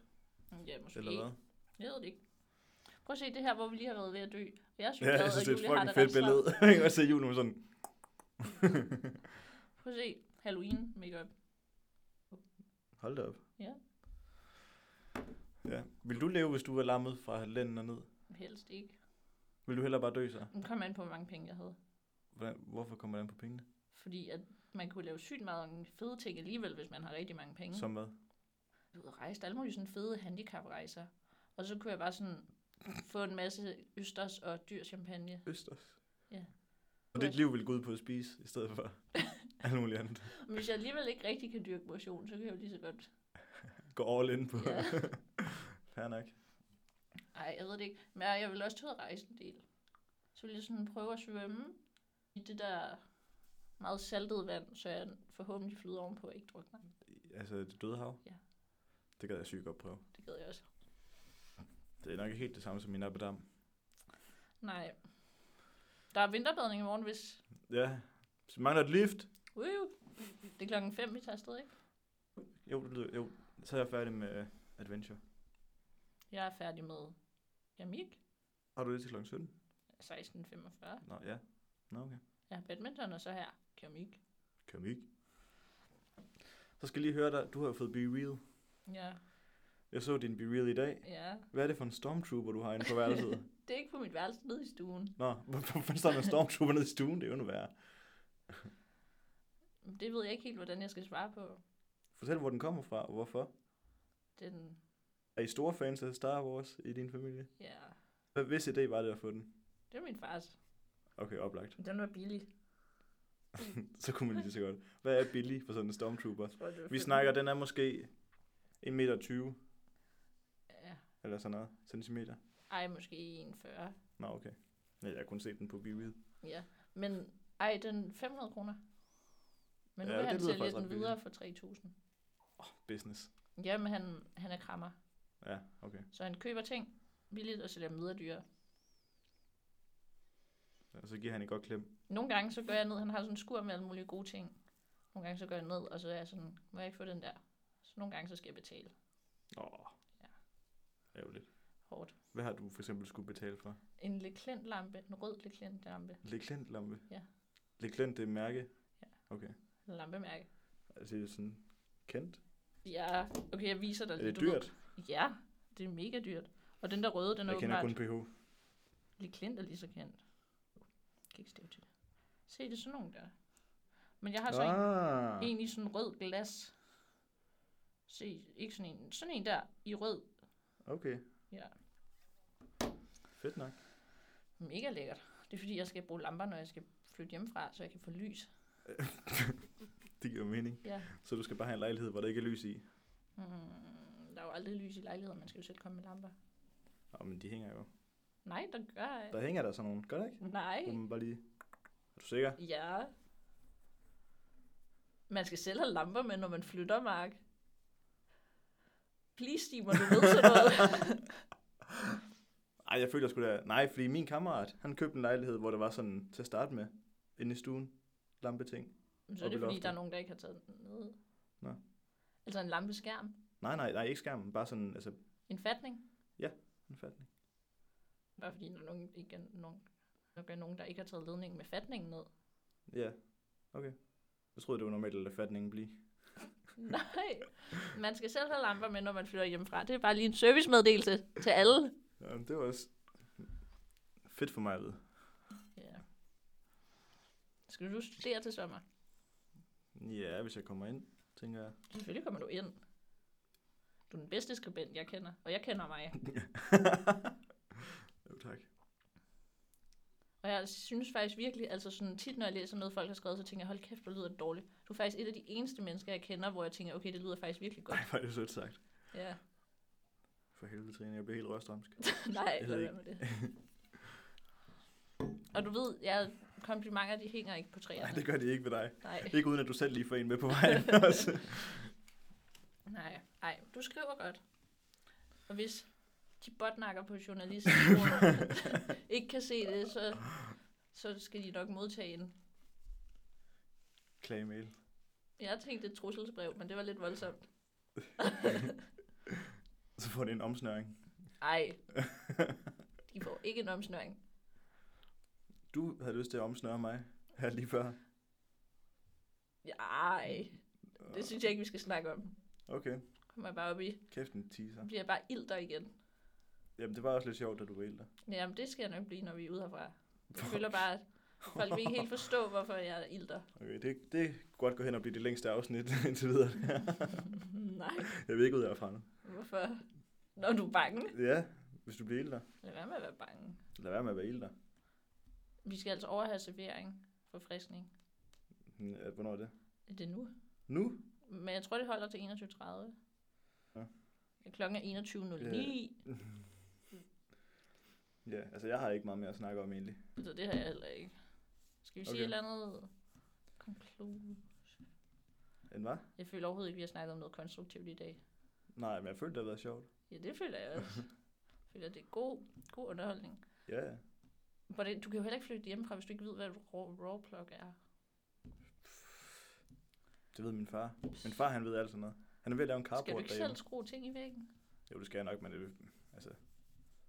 Speaker 2: Ja, måske.
Speaker 1: Eller hvad?
Speaker 2: Jeg ved det ikke. Prøv at se det her, hvor vi lige har været ved at dø. Jeg synes,
Speaker 1: Ja, jeg synes, det er et fucking fedt billede. Jeg kan godt se Julen sådan.
Speaker 2: Prøv at se Halloween makeup.
Speaker 1: Hold da op.
Speaker 2: Ja.
Speaker 1: Ja. Vil du leve, hvis du var lammet fra lænden og ned?
Speaker 2: Helst ikke.
Speaker 1: Vil du hellere bare dø så?
Speaker 2: Nu kom an på, hvor mange penge jeg havde.
Speaker 1: Hvordan, hvorfor kommer den på pengene?
Speaker 2: Fordi at man kunne lave sygt meget fede ting alligevel, hvis man har rigtig mange penge.
Speaker 1: Mm. Som hvad?
Speaker 2: ud og rejse. Der er alle mulige sådan fede handicaprejser. Og så kunne jeg bare sådan få en masse østers og dyr champagne.
Speaker 1: Østers.
Speaker 2: Ja.
Speaker 1: Og dit liv vil gå ud på at spise, i stedet for alt muligt andet.
Speaker 2: Men hvis jeg alligevel ikke rigtig kan dyrke motion, så kan jeg jo lige så godt...
Speaker 1: Gå all in på.
Speaker 2: Ja.
Speaker 1: Fair nok.
Speaker 2: Ej, jeg ved det ikke. Men jeg vil også tage ud og rejse en del. Så vil jeg sådan prøve at svømme i det der meget saltede vand, så jeg forhåbentlig flyder ovenpå og ikke drukner.
Speaker 1: Altså, det døde hav?
Speaker 2: Ja.
Speaker 1: Det gad jeg sygt godt prøve.
Speaker 2: Det gad jeg også.
Speaker 1: Det er nok ikke helt det samme som min abedam.
Speaker 2: Nej. Der er vinterbadning i morgen, hvis...
Speaker 1: Ja. Så mangler et lift?
Speaker 2: Uh, det er klokken 5, vi tager afsted, ikke?
Speaker 1: Jo, det lyder, jo. Så er jeg færdig med øh, Adventure.
Speaker 2: Jeg er færdig med Jamik.
Speaker 1: Har du det til klokken 17?
Speaker 2: 16.45.
Speaker 1: Nå, ja. Nå, okay.
Speaker 2: Ja, badminton og så her. Keramik.
Speaker 1: Keramik. Så skal jeg lige høre dig. Du har jo fået Be Real.
Speaker 2: Ja,
Speaker 1: Jeg så din Be Real i dag.
Speaker 2: ja.
Speaker 1: Hvad er det for en stormtrooper, du har inde på værelset?
Speaker 2: Det er ikke på mit værelse nede i stuen.
Speaker 1: Nå, hvor- hvorfor står der en stormtrooper nede i stuen? Det er jo endnu værre.
Speaker 2: Det ved jeg ikke helt, hvordan jeg skal svare på.
Speaker 1: Fortæl, hvor den kommer fra, og hvorfor.
Speaker 2: Den,
Speaker 1: Er I store fans af Star Wars i din familie?
Speaker 2: ja,
Speaker 1: Hvad hvis idé var det at få den?
Speaker 2: det er min fars.
Speaker 1: Okay, oplagt.
Speaker 2: Den var billig.
Speaker 1: Så kunne man lige så godt. Hvad er billig for sådan en stormtrooper?
Speaker 2: Jeg tror, det var
Speaker 1: Vi
Speaker 2: 15.
Speaker 1: snakker, den er måske 1,20 meter
Speaker 2: Ja.
Speaker 1: eller sådan noget. Centimeter.
Speaker 2: Ej, måske 41.
Speaker 1: Nå, okay. Ja, jeg kunne se den på Vivid.
Speaker 2: Ja. Men ej, den 500 kroner. Men nu
Speaker 1: Ja,
Speaker 2: vil
Speaker 1: det
Speaker 2: han
Speaker 1: lyder
Speaker 2: sælge
Speaker 1: faktisk
Speaker 2: den
Speaker 1: ret billigt.
Speaker 2: videre for 3.000.
Speaker 1: Business.
Speaker 2: Jamen, han, han er krammer.
Speaker 1: Ja, okay.
Speaker 2: Så han køber ting billigt og sælger dem videre dyre.
Speaker 1: Og så giver han et godt klem.
Speaker 2: Nogle gange så gør jeg ned, han har sådan en skur med alle mulige gode ting. Nogle gange så gør jeg ned, og så er jeg sådan, må jeg ikke få den der? Så nogle gange så skal jeg betale
Speaker 1: Åh.
Speaker 2: Ja.
Speaker 1: Ærgerligt.
Speaker 2: hårdt.
Speaker 1: Hvad har du for eksempel skulle betale for?
Speaker 2: En Leclerc-lampe, en rød Leclerc-lampe,
Speaker 1: Leclerc lampe?
Speaker 2: Ja.
Speaker 1: Leclerc, det er mærke?
Speaker 2: Ja.
Speaker 1: Okay.
Speaker 2: en lampemærke.
Speaker 1: Altså, det er sådan kendt.
Speaker 2: Ja, okay, jeg viser dig
Speaker 1: Er det
Speaker 2: Altså, du ved-
Speaker 1: dyrt?
Speaker 2: Ja, det er mega dyrt. Og den der røde, den er
Speaker 1: Jeg kender
Speaker 2: åbenbart...
Speaker 1: kun PH.
Speaker 2: Lige Klint er lige så kendt. Jeg kan ikke stave til det. Se, det er sådan nogen der. Men jeg har så ah.
Speaker 1: Ah.
Speaker 2: en, en i sådan rød glas. Se, ikke sådan en. Sådan en der i rød.
Speaker 1: Okay.
Speaker 2: Ja.
Speaker 1: Fedt nok.
Speaker 2: Mega lækkert. Det er fordi, jeg skal bruge lamper, når jeg skal flytte hjemmefra, så jeg kan få lys.
Speaker 1: Det giver mening.
Speaker 2: Ja.
Speaker 1: Så du skal bare have en lejlighed, hvor der ikke er lys i.
Speaker 2: Mm, der er jo aldrig lys i lejligheder, man skal jo selv komme med lamper.
Speaker 1: Åh, men de hænger jo.
Speaker 2: Nej, der gør jeg.
Speaker 1: Der hænger der sådan nogle. Gør der ikke?
Speaker 2: Nej.
Speaker 1: Du må bare lige... Er du sikker?
Speaker 2: Ja. Man skal selv have lamper med, når man flytter, Mark. Please, Simon, du ved sådan noget.
Speaker 1: Ej, jeg føler sgu da... Nej, fordi min kammerat, han købte en lejlighed, hvor der var sådan til at starte med. Inde i stuen. Lampeting.
Speaker 2: Men Så er
Speaker 1: Op i
Speaker 2: det fordi,
Speaker 1: loftet.
Speaker 2: der er nogen, der ikke har taget den ned.
Speaker 1: Nå.
Speaker 2: Altså en lampeskærm.
Speaker 1: Nej, nej, nej, ikke skærmen. Bare sådan, altså,
Speaker 2: En fatning.
Speaker 1: en fatning.
Speaker 2: Bare fordi, der er nogen, ikke er nogen, der er nogen, der ikke har taget ledningen med fatningen ned.
Speaker 1: Ja, okay. Jeg troede, det var normalt at lade fatningen blive.
Speaker 2: Nej. Man skal selv have lamper med, når man flytter hjemmefra. Det er bare lige en servicemeddelelse til alle.
Speaker 1: Ja, men det var også fedt for mig at vide.
Speaker 2: Ja. Skal du studere til sommer?
Speaker 1: Ja, hvis jeg kommer ind, tænker jeg.
Speaker 2: Selvfølgelig kommer du ind. Du er den bedste skribent, jeg kender. Og jeg kender mig.
Speaker 1: jo, tak.
Speaker 2: Og jeg synes faktisk virkelig, altså sådan tit, når jeg læser noget, folk har skrevet, så tænker jeg, hold kæft, hvor lyder det dårligt. Du er faktisk et af de eneste mennesker, jeg kender, hvor jeg tænker, okay, det lyder faktisk virkelig godt.
Speaker 1: Ej, hvor er det sødt sagt.
Speaker 2: Ja.
Speaker 1: For helvede, Trine, jeg bliver helt røstramsk.
Speaker 2: Nej,
Speaker 1: Jeg ved
Speaker 2: lad være med det. Og du ved, ja, komplimenter, de hænger ikke på
Speaker 1: Nej,
Speaker 2: træerne.
Speaker 1: det gør de ikke ved dig.
Speaker 2: Nej,
Speaker 1: Ikke uden, at du selv lige får en med på vejen også.
Speaker 2: nej, nej, du skriver godt. Og hvis de botnakker på journalistskolen ikke kan se det, så, så skal de nok modtage en.
Speaker 1: Klagemail.
Speaker 2: Jeg tænkte et trusselsbrev, men det var lidt voldsomt.
Speaker 1: Så får det en omsnøring.
Speaker 2: Ej, de får ikke en omsnøring.
Speaker 1: Du havde lyst til at omsnøre mig her lige før.
Speaker 2: Ej, det synes jeg ikke, vi skal snakke om.
Speaker 1: Okay,
Speaker 2: Kommer jeg bare op i.
Speaker 1: kæft en
Speaker 2: Så
Speaker 1: teaser.
Speaker 2: bliver jeg bare ilter igen.
Speaker 1: Jamen, det var også lidt sjovt, da du var ældre.
Speaker 2: Jamen, det skal jeg nok blive, når vi er ude herfra. Jeg føler bare, at folk vil ikke helt forstå, hvorfor jeg er ilter.
Speaker 1: Okay, det, det kan godt gå hen og blive det længste afsnit indtil videre.
Speaker 2: Nej,
Speaker 1: Jeg vil ikke ud herfra nu.
Speaker 2: hvorfor? Når du er bange.
Speaker 1: Ja, hvis du bliver ældre.
Speaker 2: Lad være med at være bange.
Speaker 1: Lad være med at være ældre.
Speaker 2: Vi skal altså overhave servering for friskning.
Speaker 1: Ja, Hm, Hvornår er det?
Speaker 2: Er det nu?
Speaker 1: Nu?
Speaker 2: Men jeg tror, det holder til 21.30.
Speaker 1: Ja.
Speaker 2: Ja. Klokken er 21.09,
Speaker 1: Ja, altså jeg har ikke meget mere at snakke om egentlig.
Speaker 2: så det har jeg heller ikke. Skal vi sige
Speaker 1: Øh. Okay.
Speaker 2: et eller andet? Conclude.
Speaker 1: End hvad?
Speaker 2: Jeg føler overhovedet ikke, vi har snakket om noget konstruktivt i dag.
Speaker 1: Nej, men jeg følte, det har været sjovt.
Speaker 2: Ja, det føler jeg også. jeg føler, det er god, god underholdning.
Speaker 1: Ja, ja.
Speaker 2: Hvordan, du kan jo heller ikke flytte hjemmefra, hvis du ikke ved, hvad et raw, raw plug er.
Speaker 1: det ved min far. Min far, han ved alt sådan noget. Han er ved at lave en
Speaker 2: Skal du
Speaker 1: carport
Speaker 2: ikke selv skrue ting i væggen?
Speaker 1: Jo, det skal jeg nok, men det, altså...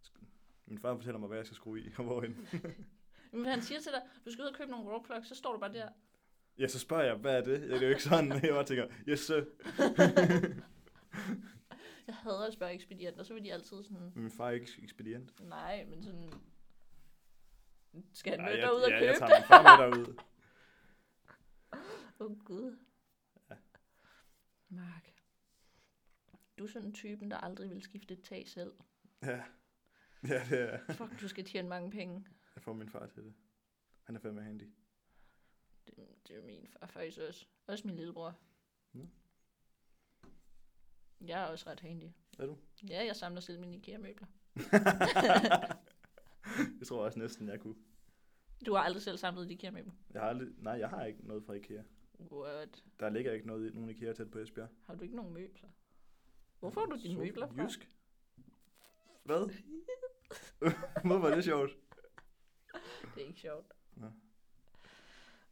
Speaker 1: sk- Min far fortæller mig, hvad jeg skal skrue i og hvorhen.
Speaker 2: Men han siger til dig, du skal ud og købe nogle raw plugs, så står du bare der.
Speaker 1: Ja, så spørger jeg, hvad er det? Ja, det er jo ikke sådan, jeg bare tænker, yes, sir.
Speaker 2: Jeg hader at spørge ekspedienter, så vil de altid sådan,
Speaker 1: Men min far er ikke ekspedient.
Speaker 2: nej, men sådan, skal han
Speaker 1: Nej,
Speaker 2: møde
Speaker 1: jeg,
Speaker 2: dig ud og
Speaker 1: ja, jeg
Speaker 2: købe
Speaker 1: tager min far med derud.
Speaker 2: Åh oh, gud. Mark. Du er sådan typen, der aldrig vil skifte et tag selv.
Speaker 1: Ja, det er
Speaker 2: Fuck, du skal tjene mange penge.
Speaker 1: Jeg får min far til det. Han er fandme handy.
Speaker 2: Det, det er min far faktisk også. Også min lillebror.
Speaker 1: Nå.
Speaker 2: Jeg er også ret handy.
Speaker 1: Er du?
Speaker 2: Ja, jeg samler selv mine IKEA-møbler.
Speaker 1: det tror jeg også næsten, jeg kunne.
Speaker 2: Du har aldrig selv samlet et IKEA-møbel.
Speaker 1: Jeg har aldrig, nej, jeg har ikke noget fra IKEA.
Speaker 2: What?
Speaker 1: Der ligger ikke noget, i- nogen IKEA tæt på Esbjerg.
Speaker 2: Har du ikke nogen møbler? Hvor får du dine
Speaker 1: Så
Speaker 2: møbler fra?
Speaker 1: Jysk. Hvad? Hvorfor er det sjovt?
Speaker 2: Det er ikke sjovt.
Speaker 1: Nå.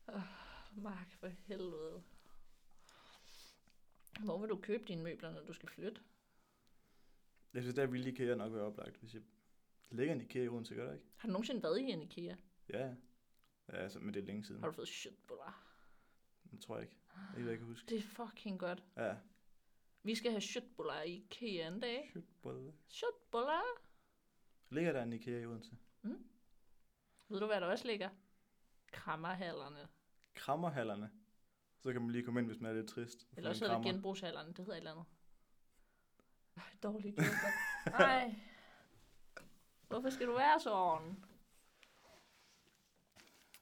Speaker 2: Oh, Mark, for helvede. Hvor vil du købe dine møbler, når du skal flytte?
Speaker 1: Jeg synes, der ville IKEA nok være oplagt, hvis jeg... Der ligger en IKEA i Odense, gør der ikke?
Speaker 2: Har du nogensinde været i en IKEA?
Speaker 1: Ja, ja. Ja, altså, men det er længe siden.
Speaker 2: Har du fået shit på dig?
Speaker 1: Det tror jeg ikke. Ikke, hvad jeg kan huske.
Speaker 2: Det er fucking godt.
Speaker 1: Ja.
Speaker 2: Vi skal have shitboller i IKEA en dag.
Speaker 1: Shit, brother.
Speaker 2: Shitboller.
Speaker 1: Ligger der en IKEA i Odense?
Speaker 2: Ved du, hvad der også ligger? Krammerhallerne.
Speaker 1: Krammerhallerne. Så kan man lige komme ind, hvis man er lidt trist. og få en
Speaker 2: Eller også hedder det
Speaker 1: krammer.
Speaker 2: genbrugshallerne. Det hedder et eller andet. Ej, dårlig joke. Ej. Hvorfor skal du være sådan?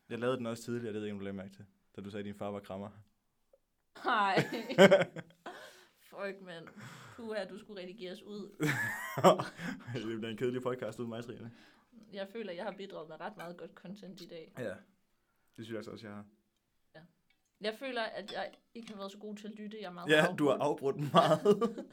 Speaker 1: Jeg lavede den også tidligere, det ved jeg ikke, om du lagde mærke til. Da du sagde, at din far var krammer.
Speaker 2: Nej. Fuck, mand. Puha, du skulle redigeres ud.
Speaker 1: det bliver en kedelig podcast uden mig, Trine.
Speaker 2: Jeg føler, jeg har bidraget med ret meget godt content i dag.
Speaker 1: Ja. Det synes jeg altså også, jeg har.
Speaker 2: Jeg føler, at jeg ikke har været så god til at lytte. Jeg er meget
Speaker 1: Ja,
Speaker 2: afbrudt.
Speaker 1: du har afbrudt meget.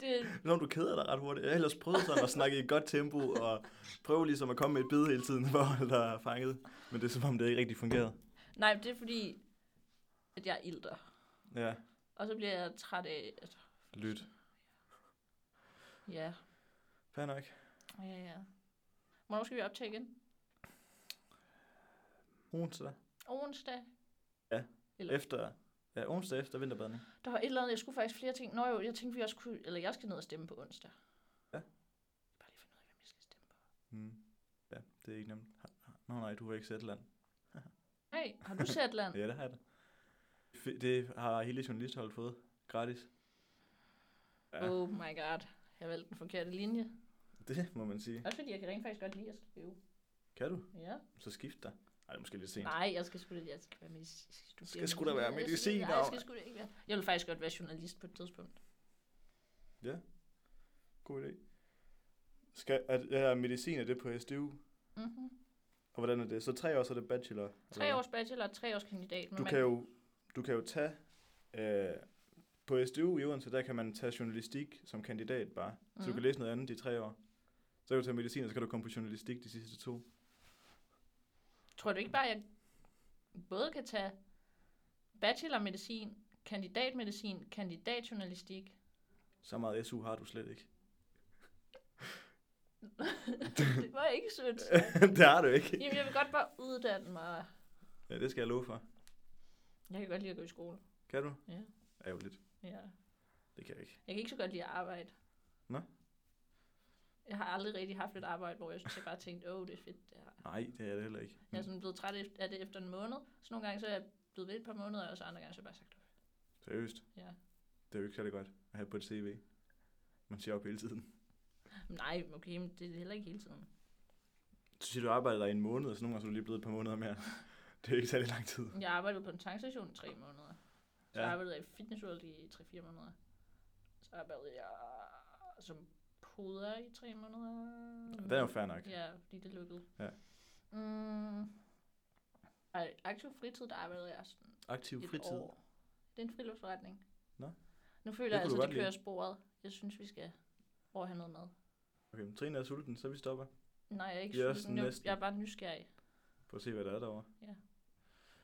Speaker 2: Det,
Speaker 1: Når du keder dig ret hurtigt. Jeg har ellers prøvet sådan at snakke i et godt tempo, og prøve ligesom at komme med et bid hele tiden, for at holde dig fanget. Men det er som om, det ikke rigtig fungerede.
Speaker 2: nej, det er fordi, at jeg ilter.
Speaker 1: Ja,
Speaker 2: Og så bliver jeg træt af, at
Speaker 1: lyt.
Speaker 2: ja,
Speaker 1: Fair nok.
Speaker 2: ja, ja. Hvornår skal vi optage igen?
Speaker 1: Onsdag.
Speaker 2: Onsdag?
Speaker 1: Efter, ja, onsdag efter vinterbadning.
Speaker 2: Der var et eller andet, jeg skulle faktisk flere ting. Nå jo, jeg tænkte, vi også kunne, eller jeg skal ned og stemme på onsdag.
Speaker 1: Ja.
Speaker 2: Bare lige finde ud af, hvem jeg skal stemme på.
Speaker 1: Mm. Ja, det er ikke nemt. Nå nej, du var ikke Sætland.
Speaker 2: Hey, har du set land?
Speaker 1: Ja, det har jeg da. Fe- Det har hele journalistholdet fået gratis. Ja.
Speaker 2: Oh my god. Jeg valgte den forkerte linje.
Speaker 1: Det må man sige.
Speaker 2: Også fordi jeg kan rent faktisk godt lide at skrive.
Speaker 1: Kan du?
Speaker 2: Ja.
Speaker 1: Så skift dig. Ej, det er måske lidt sent.
Speaker 2: Nej, jeg skal sgu da, jeg skal være medic- jeg studere
Speaker 1: Skal sgu da være
Speaker 2: medicin. Jeg
Speaker 1: mediciner,
Speaker 2: Nej, jeg skal
Speaker 1: mand.
Speaker 2: sgu da ikke være. Jeg vil faktisk godt være journalist på et tidspunkt.
Speaker 1: God idé. Skal, er, er medicin, er det på SDU?
Speaker 2: Mm-hmm.
Speaker 1: Og hvordan er det? Så tre år, så er det bachelor? eller
Speaker 2: Tre
Speaker 1: hvad?
Speaker 2: års bachelor og tre års kandidat. men
Speaker 1: Du
Speaker 2: man-
Speaker 1: kan jo, du kan jo tage... Øh, på SDU i Odense, der kan man tage journalistik som kandidat bare. Så du
Speaker 2: Mhm.
Speaker 1: kan læse noget andet i tre år. Så kan du tage medicin, og så kan du komme på journalistik de sidste to.
Speaker 2: Tror du ikke bare, at jeg både kan tage bachelormedicin, kandidatmedicin, kandidatjournalistik?
Speaker 1: Så meget SU har du slet ikke.
Speaker 2: det var ikke sødt.
Speaker 1: det har du ikke.
Speaker 2: Jamen, jeg vil godt bare uddanne mig.
Speaker 1: Ja, det skal jeg love for.
Speaker 2: Jeg kan godt lide at gå i skole.
Speaker 1: Kan du?
Speaker 2: Ja.
Speaker 1: Ærgerligt.
Speaker 2: Ja.
Speaker 1: Det kan jeg ikke.
Speaker 2: Jeg kan ikke så godt lide at arbejde.
Speaker 1: Nå.
Speaker 2: Jeg har aldrig rigtig haft et arbejde, hvor jeg sådan bare tænkte, åh, oh, det er fedt, det her.
Speaker 1: Nej, det er det heller ikke.
Speaker 2: Jeg er sådan blevet træt af det efter en måned. Så nogle gange så er jeg blevet ved et par måneder, og så andre gange så har jeg bare sagt,
Speaker 1: Seriøst.
Speaker 2: ja.
Speaker 1: Det er jo ikke særlig godt at have på et CV. Man siger op hele tiden.
Speaker 2: Men Nej, okay, men det er heller ikke hele tiden.
Speaker 1: Så siger du arbejder der i en måned, og så nogle gange så er du lige blevet et par måneder mere. Det er ikke særlig lang tid.
Speaker 2: Jeg arbejdede på en tankstation i tre måneder. Så
Speaker 1: Ja.
Speaker 2: ja. arbejdede jeg i fitnessworld i 3-4 måneder. Så arbejdede jeg som poder i 3 måneder.
Speaker 1: Det er jo fair nok.
Speaker 2: Ja, fordi det lukkede.
Speaker 1: Ja.
Speaker 2: Mm. Ej, aktiv fritid, der arbejdede jeg sådan
Speaker 1: Aktiv
Speaker 2: et
Speaker 1: fritid.
Speaker 2: år. Det er en friluftsforretning.
Speaker 1: Nå.
Speaker 2: Nu
Speaker 1: Det
Speaker 2: føler jeg
Speaker 1: kunne du
Speaker 2: altså,
Speaker 1: godt
Speaker 2: det kører
Speaker 1: lide.
Speaker 2: sporet. Jeg synes, vi skal over at have noget mad.
Speaker 1: Okay, men Trine er sulten, så vi stopper.
Speaker 2: Nej, jeg er ikke
Speaker 1: Jeg er
Speaker 2: yes,
Speaker 1: sådan
Speaker 2: nu,
Speaker 1: næsten.
Speaker 2: Jeg er bare nysgerrig.
Speaker 1: Prøv at se, hvad der er derovre.
Speaker 2: Ja.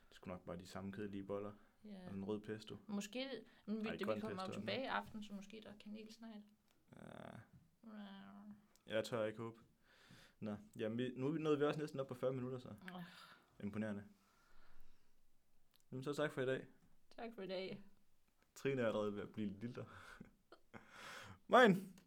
Speaker 1: Det skulle nok bare de samme kedelige boller.
Speaker 2: Ja.
Speaker 1: Og en rød pesto.
Speaker 2: Måske, men vi,
Speaker 1: Ej,
Speaker 2: det, vi
Speaker 1: grøn
Speaker 2: kommer jo
Speaker 1: pesto er
Speaker 2: tilbage i aften, så måske der er kanelsnegl.
Speaker 1: Ja,
Speaker 2: Rar.
Speaker 1: jeg tør ikke håbe. Nå, jamen, vi, nu nåede vi også næsten op på 40 minutter så.
Speaker 2: Ah,
Speaker 1: Imponerende. Jamen, så tak for i dag.
Speaker 2: Tak for i dag.
Speaker 1: Trine er allerede ved at blive lille. Moin!